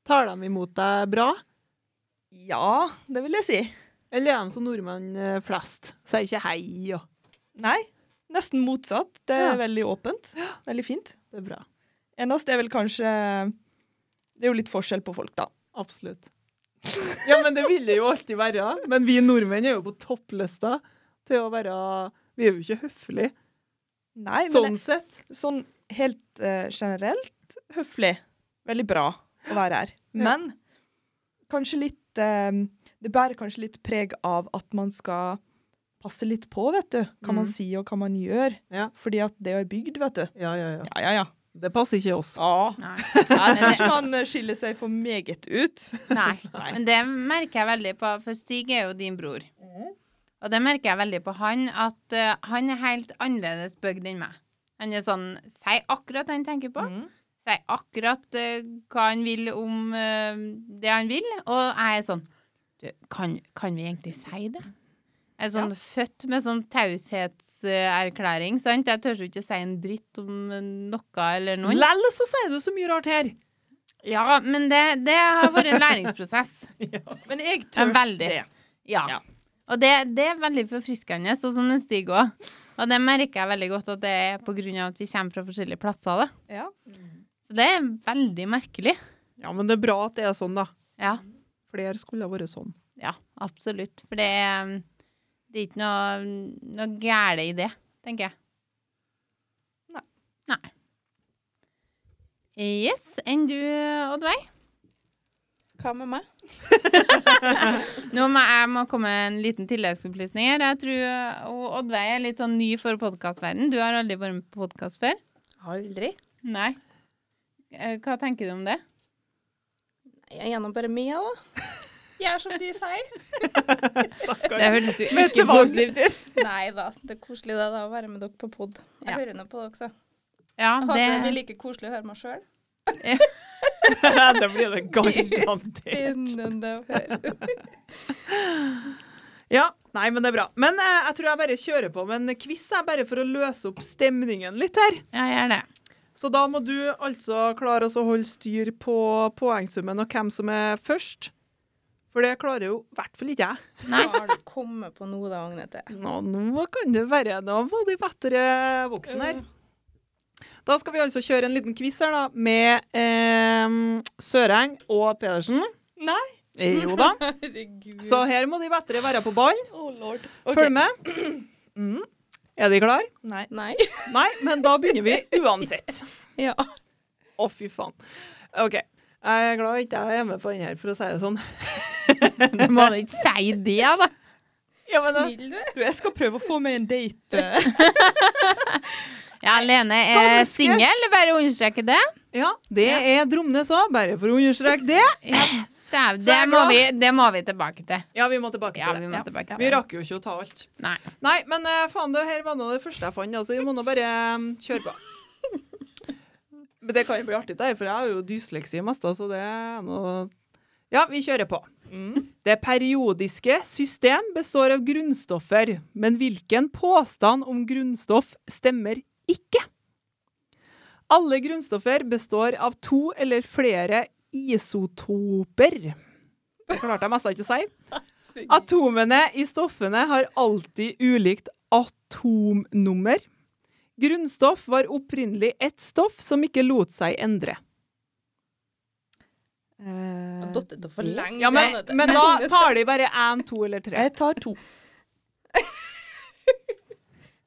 Tar de imot deg bra? Ja, det vil jeg si. Eller er de som nordmenn eh, flest? Sier ikke hei og Nei, nesten motsatt. Det er Ja. veldig åpent. Veldig fint. Det er bra. Eneste er vel kanskje Det er jo litt forskjell på folk, da. Absolutt. Ja, men det vil det jo alltid være. Men vi nordmenn er jo på topplista til å være Vi er jo ikke høflige. Nei, men Sånn sett. sånn helt eh, generelt høflig. Veldig bra å være her. Ja. Men kanskje litt eh, Det bærer kanskje litt preg av at man skal passe litt på, vet du. Hva Mm. man sier og hva man gjør. Ja. Fordi at det er bygd, vet du. Ja, ja, ja. Ja, ja, ja. Det passer ikke oss. Ja, Nei. Jeg syns ikke man eh, skiller seg for meget ut. Nei. Nei. Men det merker jeg veldig på, for Stig er jo din bror. Mm. Og det merker jeg veldig på han, at eh, han er helt annerledes bygd enn meg. Han er sånn Si akkurat det han tenker på. Mm. Si akkurat eh, hva han vil om eh, det han vil. Og jeg er sånn du, kan, kan vi egentlig si det? Jeg er sånn født med sånn taushetserklæring, sant? Jeg tør jo ikke si en dritt om eh, noe eller noen. Lell så sier du så mye rart her. Ja, men det, det har vært en læringsprosess. Men jeg Ja, tør veldig. det. Ja. Ja. Og det, det er veldig forfriskende, sånn som den Stig òg. Og det merker jeg veldig godt at det er på grunn av at vi kommer fra forskjellige plasser. Da. Ja. Så det er veldig merkelig. Ja, men det er bra at det er sånn, da. Ja, Flere skulle ha vært sånn. ja absolutt. For det er, um, det er ikke noe, noe gæle i det, tenker jeg. Nei. Nei. Yes. Enn du, Oddveig? Hva med meg? Nå må jeg må komme med en liten tilleggsopplysning her. Jeg tror eh, og Oddveig er litt sånn ny for podkastverden. Du har aldri vært med på podkast før? Aldri. Nei. Eh, Hva tenker du om det? Jeg gjennom bare meg, da. Jeg er som de sier. Det Stakkar. hørtes jo Vet du ikke hva? positivt ut. Nei da, det er koselig det da, å være med dere på pod. Jeg Ja. hører nå på dere også. Ja, det, like koselig å høre meg sjøl. det blir det garantert. Spennende å høre. Ja, nei, men det er bra. Men eh, jeg tror jeg bare kjører på med en quiz, jeg, bare for å løse opp stemningen litt her. ja, jeg gjør det. Så da må du altså klare oss å holde styr på poengsummen og hvem som er først. For det klarer jo i hvert fall ikke jeg. Nei. Hva har du kommet på nå da, Agnete? Nå, nå kan det være Nå var de bedre våkne her. Da skal vi altså kjøre en liten quiz her, da, med eh, Søreng og Pedersen. Nei. Eh, Jo da. Herregud. Så her må de bedre være på ballen. Oh lord. Følg med. Mm. Er de klar? Nei. Nei. Nei, men da begynner vi uansett. Ja. Å, fy faen. OK. Jeg er glad ikke jeg er med på den her, for å si det sånn. Du må da ikke si det, da. Ja, men da, Snill, du. Du, jeg skal prøve å få meg en date. eh. Ja, Lene er singel, bare understreke det. ja, det er Dromnes òg, bare for å understreke det. Ja, det, er, Så det, er det må bra. vi, det må vi tilbake til. Ja, vi må tilbake Ja, til vi det. må Ja. tilbake Vi til det. rakk jo ikke å ta alt. Nei. Nei, men eh, faen, det her var nå det første jeg fant, altså. Vi må nå bare eh, kjøre på. Men det kan jo bli artig, det her, for jeg har jo dysleksi mest, da, så det er noe Ja, vi kjører på. Det periodiske system består av grunnstoffer, men hvilken påstand om grunnstoff stemmer ikke? Alle grunnstoffer består av to eller flere isotoper. Det klarte jeg nesten ikke å si. Atomene i stoffene har alltid ulikt atomnummer. Grunnstoff var opprinnelig ett stoff som ikke lot seg endre. Jeg Eh, datt det for lenge Ja, men, siden, vet du. men da tar de bare én, to eller tre. jeg tar to.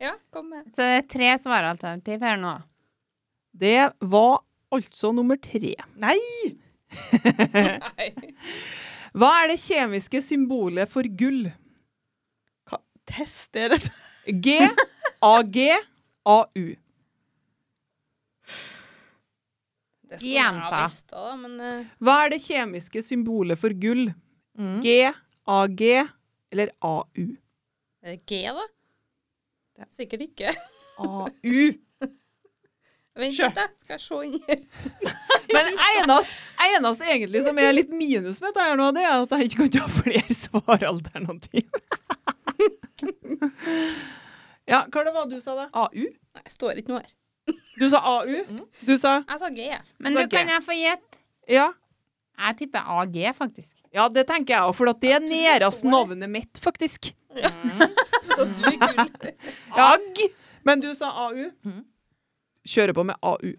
Ja, kom med. Så det er tre svaralternativ her nå. Det var altså nummer tre. Nei! Nei. Hva er det kjemiske symbolet for gull? Hva? Test er det. G, AG, AU. Det skulle jeg ha Gjenta. visst da, men eh, Hva er det kjemiske symbolet for gull? Mm. G, AG eller AU? er det Eh, G, da? Ja. Sikkert ikke. AU. Vent Sure. litt, da. Skal jeg se inn Men eneste, eneste egentlig som er litt minus med dette her nå, det er at jeg ikke kan ta flere svaralternativ. Ja, hva det var det du sa da? Mm. AU? Nei, jeg står ikke noe her. Du sa AU? Du sa Jeg sa G. Men Så du, G. kan jeg få gjette? ja? Jeg tipper AG, faktisk. Ja, det tenker jeg òg, for at det er nærest navnet mitt, faktisk. Så du er gull. Agg! Men du sa AU. Mhm. Mm. Kjører på med AU.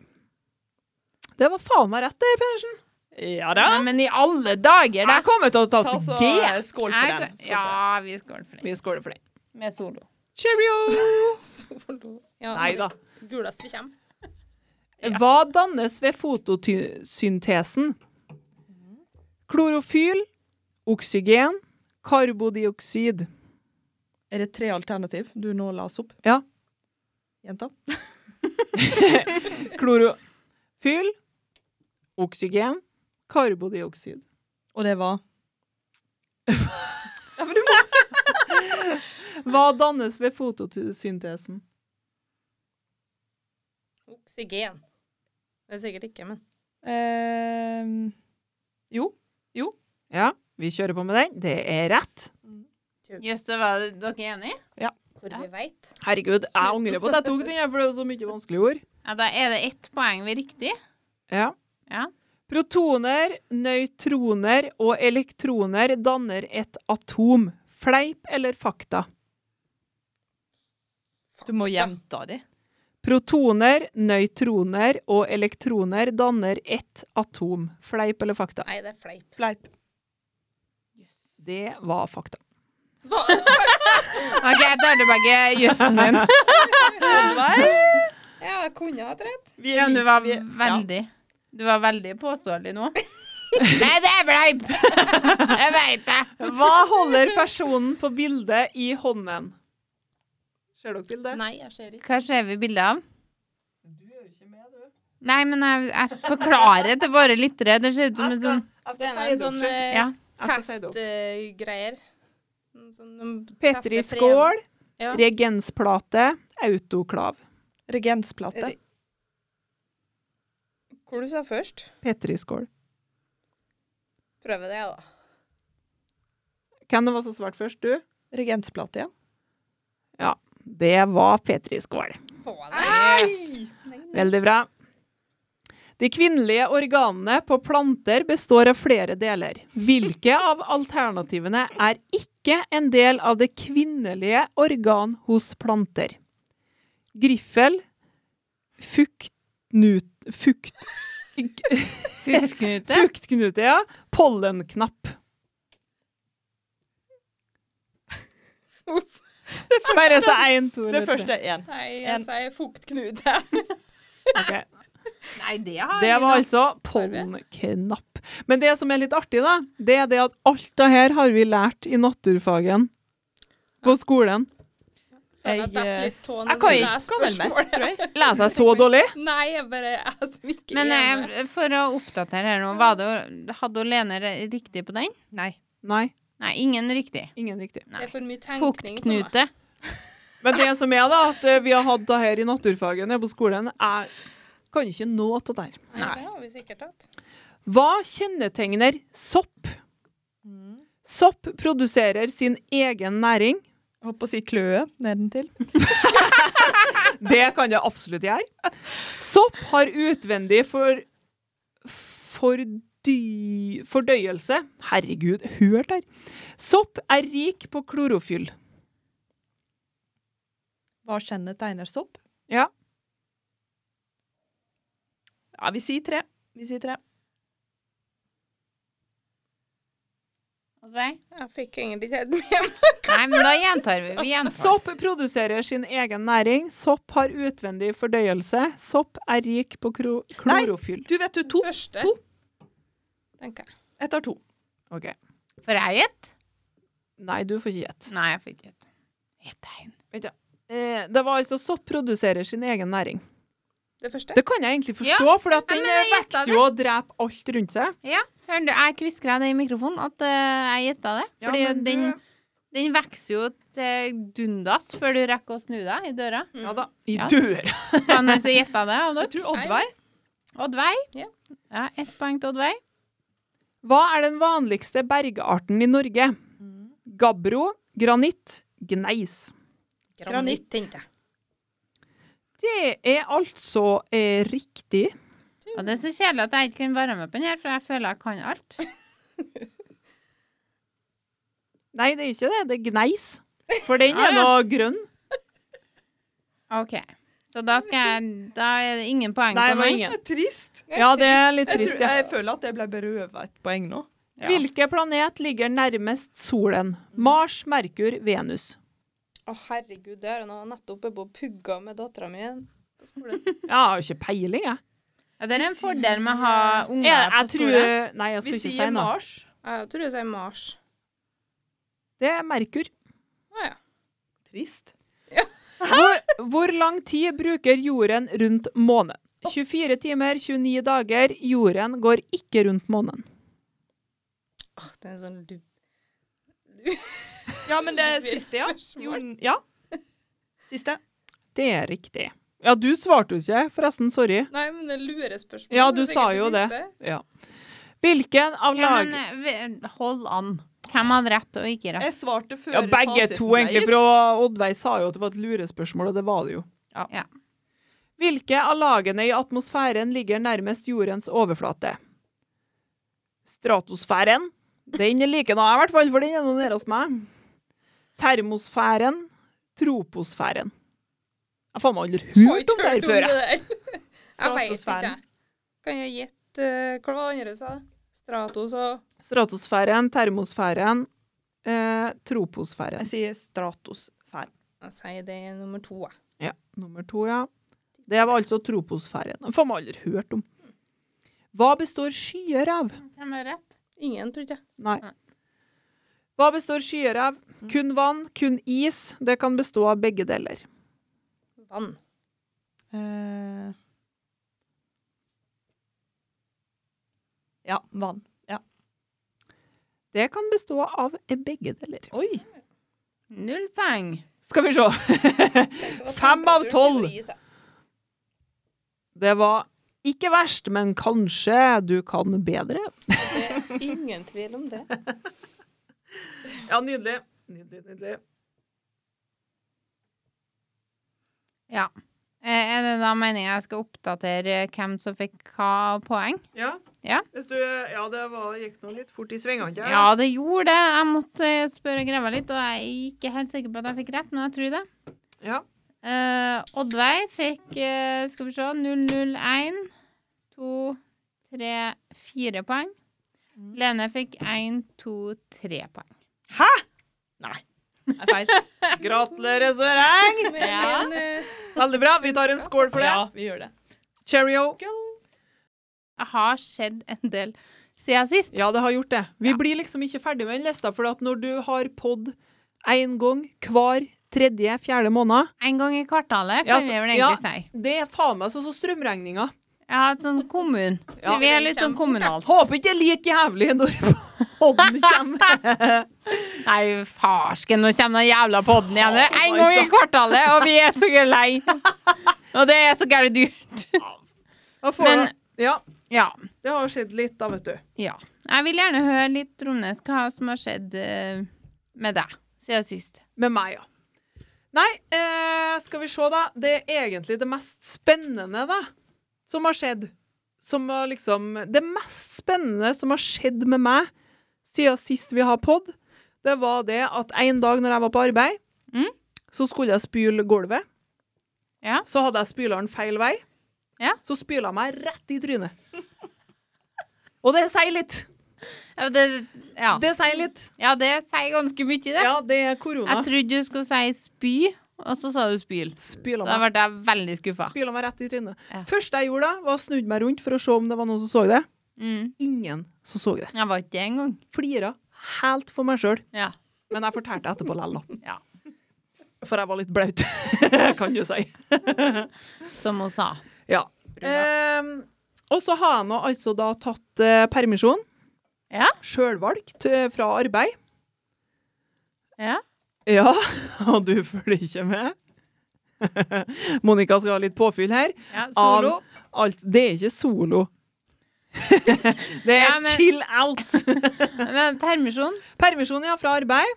Det var faen meg rett, det, Pedersen. Ja Nei, men i alle dager, da! Jeg kommer til å ta Ta til så G. eh, skål for Jeg, den. Skål for den. ja, vi skåler for det. Vi skåler for den. Med solo. Cheerio! Solo. Ja, Nei da. Gulest vi kommer. Hva dannes ved fotosyntesen? Klorofyl, oksygen, karbodioksid. Er det tre alternativ du nå las opp? Ja. Jenta? Klorofyl, oksygen, karbodioksid. Og det var Hva dannes ved fotosyntesen? Oksygen. Det er sikkert ikke, men eh, Jo. Ja, vi kjører på med den. Det er rett. Jøss, så var det- dere enige? hvor Ja. vi veit. Herregud, jeg angrer på at jeg tok den, her, for det er jo så mye vanskelige ord. Ja, da er det ett poeng ved riktig. Ja. Ja. Protoner, nøytroner og elektroner danner et atom. Fleip eller fakta? Du må gjenta det. Protoner, nøytroner og elektroner danner ett atom. Fleip eller fakta? Nei, det er fleip. Fleip. Det var fakta. Hva? OK, jeg tar tilbake jøssen din. Ja, jeg kunne ha hatt rett. Vi Ja, men du like- var vi er- veldig Du var veldig påståelig nå. Nei, det er fleip! Jeg veit det. Hva holder personen på bildet i hånden? Ser dere bildet? Nei, jeg ser ikke. Hva ser vi bilde av? Du er jo ikke med, du. Nei, men jeg, jeg forklarer til våre lyttere. Det ser ut som Jeg en skal, sånn jeg Det skal er en si det sånn opp. eh, Ja. Jeg skal si det opp. testgreier. Noen sånn- de Petri tester prøver. skål, Ja. regensplate, autoklav. Regensplate. Re- Hvor du sa først? Petri skål. Prøve det, da. Hvem det var som svarte først, du? Regensplate, ja. Det var Petri skål. Få Yes. Veldig bra. De kvinnelige organene på planter består av flere deler. Hvilke av alternativene er ikke en del av det kvinnelige organ hos planter? Griffel, fuktnut, fukt, Fuktknute. fruktknute, ja, pollenknapp. Uff. Bare så én, to Det eller første tre. er én. Nei, En- jeg sier fuktknute. Ok. Nei, det har Det vi var nå. altså pollenknapp. Men det som er litt artig, da, det er det at alt det her har vi lært i naturfagen på skolen. Føler at det er Jeg, litt eh, tåen som jeg kan ikke leser Gammelmest, spørsmålet. tror jeg. Lærer seg så dårlig? Nei, jeg bare jeg som ikke Men er med. eh, for å oppdatere her nå, var det, hadde hun Lene re- riktig på den? Nei. Nei, Nei, ingen riktig. ingen riktig. Nei. Det er for mye tenkning sånn. for meg. Fuktknute. Men det som er, da, at eh, vi har hatt det her i naturfagen nede på skolen, jeg kan ikke nå til der. Nei, det har vi sikkert hatt. Hva kjennetegner sopp? Sopp produserer sin egen næring. Jeg holdt på å si kløe nedentil. Det kan det absolutt gjøre. Sopp har utvendig for, fordy, fordøyelse. Herregud, hørt her. Sopp er rik på klorofyll. Hva kjennetegner sopp? Ja. Ja, vi sier tre. Vi sier tre. Nei, Jeg fikk egentlig ikke helt med meg. men da gjentar vi. Vi gjentar. Sopp produserer sin egen næring. Sopp har utvendig fordøyelse. Sopp er rik på kro Nei. klorofyll. Du vet du, to. Første. to. Tenker jeg. Jeg tar to. Ok. Får jeg gjette? Nei, du får ikke gjette. Nei, jeg får ikke gjette. Ett tegn. Eh, det var altså sopp produserer sin egen næring. Det første. Det kan jeg egentlig forstå, for at Ja, den men jeg eh, gjettet vokser det. jo og dreper alt rundt seg. Hører du, jeg kviskra det i mikrofonen at eh, jeg gjetta det. Ja, Fordi men du- den, den vokser jo til dundas før du rekker å snu deg i døra. Ja da. I Ja. døra. Men hvis jeg gjetta det, og Jeg dere tror Oddveig. Oddveig. Ja. Ja, ett poeng til Oddveig. Hva er den vanligste bergarten i Norge? Mm. Gabbro, granitt, gneis. Granitt. tenkte jeg. Det er altså eh, riktig. Og det er så kjedelig at jeg ikke kan være med på den her, for jeg føler jeg kan alt. Nei, det er ikke det. Det er gneis. For den Ah, er ja. da grønn. OK. Så da skal jeg Da er det ingen poeng Nei, på det var meg. ingen. Det er trist. Ja, det er litt Jeg, trist, tror, ja. jeg føler at jeg ble berøvet et poeng nå. Ja. Hvilken planet ligger nærmest solen? Mars, Merkur, Venus. Å, herregud, det har jeg nå nettopp oppe og pugga med dattera mi på skolen. Jeg har jo ikke peiling, jeg. Ja, det er en fordel med å ha unger Jeg, på jeg tror skolen. Nei, jeg Vi skal ikke si sier noe. Mars. Jeg tror jeg sier Mars. Det er Merkur. Å ja. Trist. Hvor, hvor lang tid bruker jorden rundt månen? 24 timer, 29 dager. Jorden går ikke rundt månen. Åh, det er en sånn lu... Ja, men det Det er er siste, ja. spørsmål. Jorden- ja. Siste. Det er riktig. Ja, du svarte jo ikke, forresten. Sorry. Nei, men det er lurespørsmål. Ja, så du det er sa sikkert jo det. siste. Ja. Hvilken av Ja, men eh, lagene vi- hold an. Hvem hadde rett og ikke rett? Jeg svarte før Ja, begge fasiten to, ble egentlig. gitt. For Oddveig sa jo at det var et lurespørsmål, og det var det jo. Ja. Ja. Hvilke av lagene i atmosfæren ligger nærmest jordens overflate? Stratosfæren. Den er like nær, i hvert fall, for den er noe nede hos meg. Termosfæren. Troposfæren. Jeg har faen meg aldri Har hørt ikke om det her hørt om før. jeg. det der. Jeg vet ikke. Stratosfæren. jeg. Kan jeg gjette eh, hva var det andre du sa? Stratos og Stratosfæren, termosfæren, eh, troposfæren. Jeg sier stratosfæren. Jeg sier det er nummer to, jeg. Ja, nummer to, ja. Det var altså troposfæren. Den får man aldri hørt om. Hva består skyer av? Hvem hadde rett? Ingen, trodde jeg. Nei. Nei. Hva består skyer av? Kun vann, kun is. Det kan bestå av begge deler. Vann. Eh, Ja, vann. Det kan bestå av begge deler. Oi! Null poeng. Skal vi se. Tenkte det var Fem av temperaturen tolv. som gjorde is, jeg. Det var ikke verst, men kanskje du kan bedre. Det er ingen tvil om det. Ja, nydelig. Nydelig, nydelig. Ja. Eh, Er det da meningen jeg skal oppdatere hvem som fikk hva poeng? Ja. Ja. Hvis du, ja, det var, gikk nå litt fort i svingene. ikke? Ja, det gjorde det. Jeg måtte eh, spørre og grave litt, og jeg er ikke helt sikker på at jeg fikk rett, men jeg tror det. Ja. Eh, Oddveig fikk eh, Skal vi se 001, 2, 3, 4 poeng. Mm. Lene fikk 1, 2, 3 poeng. Hæ?! Nei. Det er feil. Gratulerer, Søreng! Men Ja. en, eh, Veldig bra. Vi tar en skål for det. Ja, vi gjør det. Cheerio. Skål. Jeg har skjedd en del siden sist. Ja, det har gjort det. Vi Ja. blir liksom ikke ferdig med den lista, for at når du har podd én gang hver tredje, fjerde måned En gang i kvartalet, Ja, kan vi så- vel ja. egentlig si. Det er faen meg sånn som strømregninga. Jeg har hatt sånn kommun. Ja. Så vi er litt sånn kommunalt. Håper ikke det er like jævlig når podden kommer. Nei, farsken, nå kommer den jævla podden igjen. Det er En gang i kvartalet, og vi er så lei. Og det er så gærent dyrt. Da får Men- du- ja, Ja. det har skjedd litt, da, vet du. ja. Jeg vil gjerne høre litt, Tromnes, hva som har skjedd eh, med deg siden sist. Med meg, ja. Nei, eh, skal vi se, da. Det er egentlig det mest spennende, da, som har skjedd. Som har liksom Det mest spennende som har skjedd med meg siden sist vi har pod, det var det at en dag når jeg var på arbeid, Mm. så skulle jeg spyle gulvet. Ja. Så hadde jeg spyleren feil vei. Ja. Så spyla jeg meg rett i trynet. Og det sier litt. Ja, det, ja. Det sier litt. ja, det sier ganske mye, det. Ja, det er korona. Jeg trodde du skulle si spy, og så sa du spyl. Spyla Da meg ble jeg veldig skuffa. Spyla meg rett i trynet. Ja. Første jeg gjorde da, var å snudd meg rundt for å se om det var noen som så det. Mm. Ingen som så det. Jeg var ikke det engang. Flira helt for meg sjøl. Ja. Men jeg fortalte etterpå lell, da. Ja. For jeg var litt blaut, kan du si. Som hun sa. Ja. Ehm, og så har jeg nå altså da tatt eh, permisjon. Ja. Sjølvalgt eh, fra arbeid. Ja. Ja, og du følger ikke med? Monica skal ha litt påfyll her. ja solo. Av alt. Det er ikke solo. det er Ja, men- chill out. Men permisjon. Permisjon ja, fra arbeid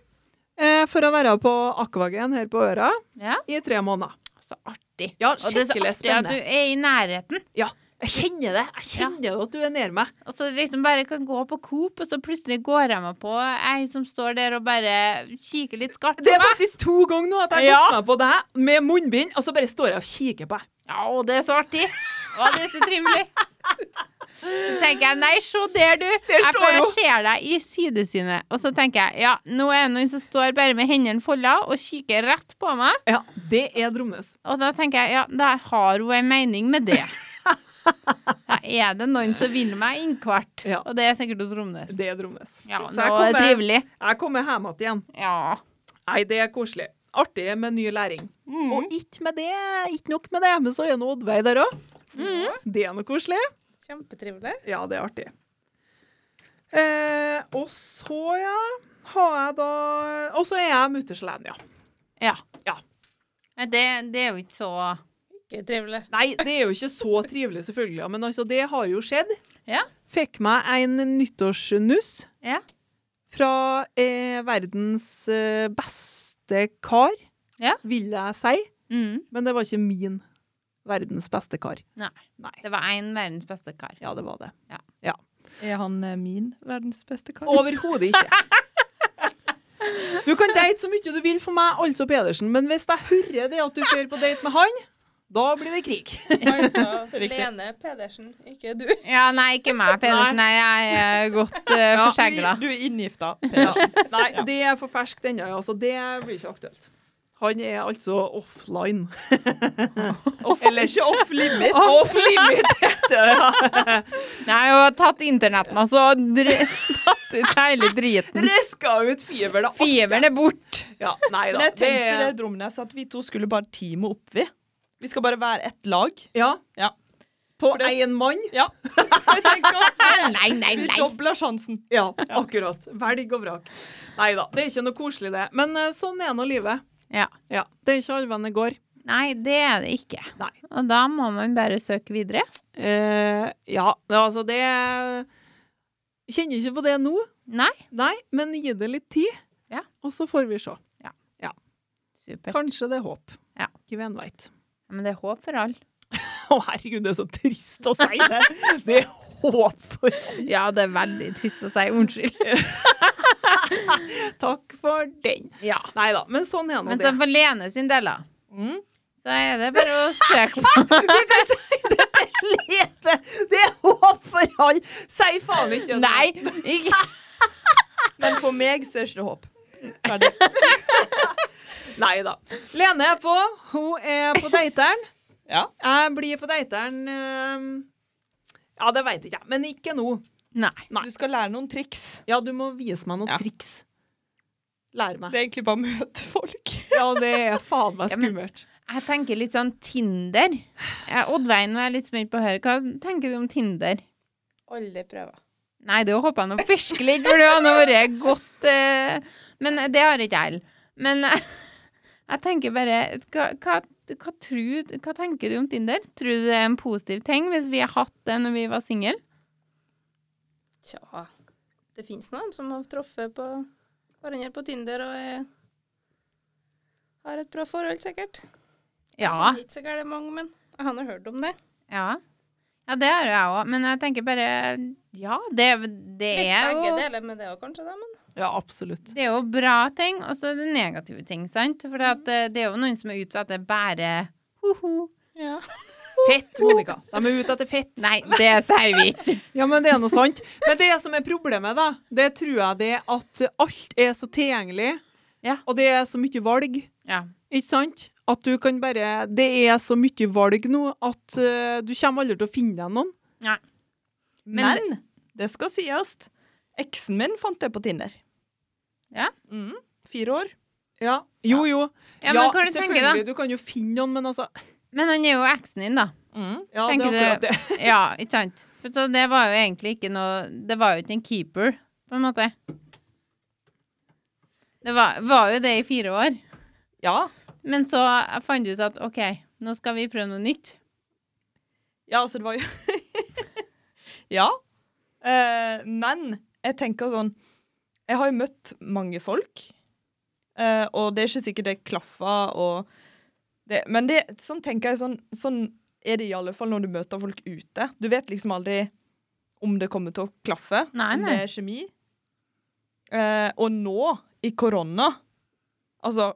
eh, for å være på Akvagen her på Øra Ja. i tre måneder. Så artig. Ja, Og det er så skikkelig artig at du spennende. er i nærheten. Jeg kjenner det. Jeg kjenner jo at du er nær meg. Og så liksom bare kan gå på Coop, og så plutselig går jeg meg på ei som står der og bare kikker litt skarpt Det på er meg. faktisk to ganger nå at jeg har gått meg på deg med munnbind, og så bare står jeg og kikker på deg. Ja, og det er så artig. Å, det er så trivelig. Så tenker jeg nei, se der, du. Der jeg, står for jeg hun. ser deg i sidesynet. Og så tenker jeg ja, nå er det noen som står bare med hendene folda og kikker rett på meg. Ja, det er Dromnes. Og da tenker jeg, ja, da har hun en mening med det. Da er det noen som vil meg innkvart. Ja. Og det er sikkert hos Romnes. Det er Dromnes. Ja, Så nå jeg er det kommer- trivelig. Jeg kommer hjem igjen. Ja. Nei, det er koselig. Artig med ny læring. Mm. Og ikke med det, ikke nok med det, men så er nå Oddveig der òg. Det er noe koselig. Kjempetrivelig. Ja, det er artig. Eh, og så, ja, har jeg da Og så er jeg mutters alene, ja. ja. Ja. Men Det, det er jo ikke så Ikke trivelig. Nei, det er jo ikke så trivelig, selvfølgelig, ja, men altså, det har jo skjedd. Ja. Fikk meg en nyttårsnuss Ja. fra eh, verdens eh, beste kar, Ja. vil jeg si. mm. Men det var ikke min verdens beste kar. Det var én verdens beste kar. Ja, det var det. Er han eh, min verdens beste kar? Overhodet ikke. Du kan date så mye du vil for meg, altså Pedersen, men hvis jeg hører det at du drar på date med han, da blir det krig. Altså Riktig. Lene Pedersen, ikke du. Ja, nei, ikke meg, Pedersen. Nei, jeg er godt uh, Ja, forsegla. Du er inngifta. Nei, det er for ferskt ennå. Altså, det blir ikke aktuelt. Han er altså offline. Eller ikke off limit. Off limit, heter det. Nei, jeg har tatt internettmasse og dri tatt ut hele driten. Røska ut fiber, da. Fiberen er bort. Ja, nei Men da. jeg tenkte det, Dromnes, at vi to skulle bare teame opp, vi. Vi skal bare være ett lag. Ja. Ja. På For det- én mann. Ja. Jeg tenker, Nei, nei, vi nei. dobler sjansen. Ja, akkurat. Velg og vrak. Nei da, det er ikke noe koselig, det. Men eh, sånn er nå livet. Ja. Ja, Det er ikke allvenn det går. Nei, det er det ikke. Nei. Og da må man bare søke videre. Eh, ja, altså det Jeg kjenner ikke på det nå, Nei. nei, men gi det litt tid, Ja. og så får vi se. Supert. Kanskje det er håp. Ja. Hvem veit. Ja, Men det er håp for alle. Å, herregud, det er så trist å si det! Det er håp for Ja, det er veldig trist å si. Unnskyld. Takk for den. Ja. Nei da, men sånn er nå Men det. så for Lene sin del, da, Mm. så er det bare å søke på. Lene, det er håp for alle! Si faen ikke det. Nei! Ikke. Men for meg så er ikke det håp. Ferdig. Nei da. Lene er på. Hun er på dateren. Ja. Jeg blir på dateren eh, Ja, det veit ikke jeg, men ikke nå. Nei. Nei. Du skal lære noen triks. Ja, du må vise meg noen Ja. triks. Lære meg. Det er egentlig bare å møte folk. Ja, det er faen meg Ja, men- skummelt. Jeg tenker litt sånn Tinder. Eh, Oddveien var jeg litt spent på å høre. Hva tenker du om Tinder? Alle prøver. Nei, det håper jeg nå virkelig ikke, for det hadde vært godt eh, Men det har ikke jeg. Men eh, jeg tenker bare hva, hva, hva, tror, hva tenker du om Tinder? Tror du det er en positiv ting hvis vi har hatt det når vi var single? Tja. Det fins noen som har truffet på hverandre på Tinder og er, har et bra forhold, sikkert. Jeg Ja. kjenner ikke så gærent mange, men jeg har nå hørt om det. Ja, ja det har jeg òg. Men jeg tenker bare Ja, det, det er Litt jo begge deler med det òg, kanskje, da, men Ja, absolutt. Det er jo bra ting, og så er det negative ting, sant? For at, eh, det er jo noen som er ute etter bare ho-ho. ja. Fett, Monica. De er ute etter fett. Nei, det sier vi ikke. Ja, men det er noe sant. Men det som er problemet, da, det tror jeg det er at alt er så tilgjengelig, Ja. og det er så mye valg, Ja. ikke sant? At du kan bare Det er så mye valg nå at eh, du kommer aldri til å finne deg noen. Men- Men, det skal sies. Eksen min fant det på Tinder. Ja? Mm, fire år. Ja. Jo, jo. ja, men hva du tenker da? selvfølgelig. Du kan jo finne noen, men altså Men han er jo eksen din, da. Mm. Ja, Tenker det er akkurat det. Ja, ikke sant? For så det var jo egentlig ikke noe Det var jo ikke en keeper, på en måte. Det var, var jo det i fire år. Ja. Men så fant du ut at OK, nå skal vi prøve noe nytt. Ja, altså, det var jo Ja. Eh, men jeg tenker sånn Jeg har jo møtt mange folk, eh, og det er ikke sikkert det klaffer og det, Men det, sånn tenker jeg sånn, sånn er det i alle fall når du møter folk ute. Du vet liksom aldri om det kommer til å klaffe, Nei, om nei. det er kjemi. Eh, og nå, i korona Altså,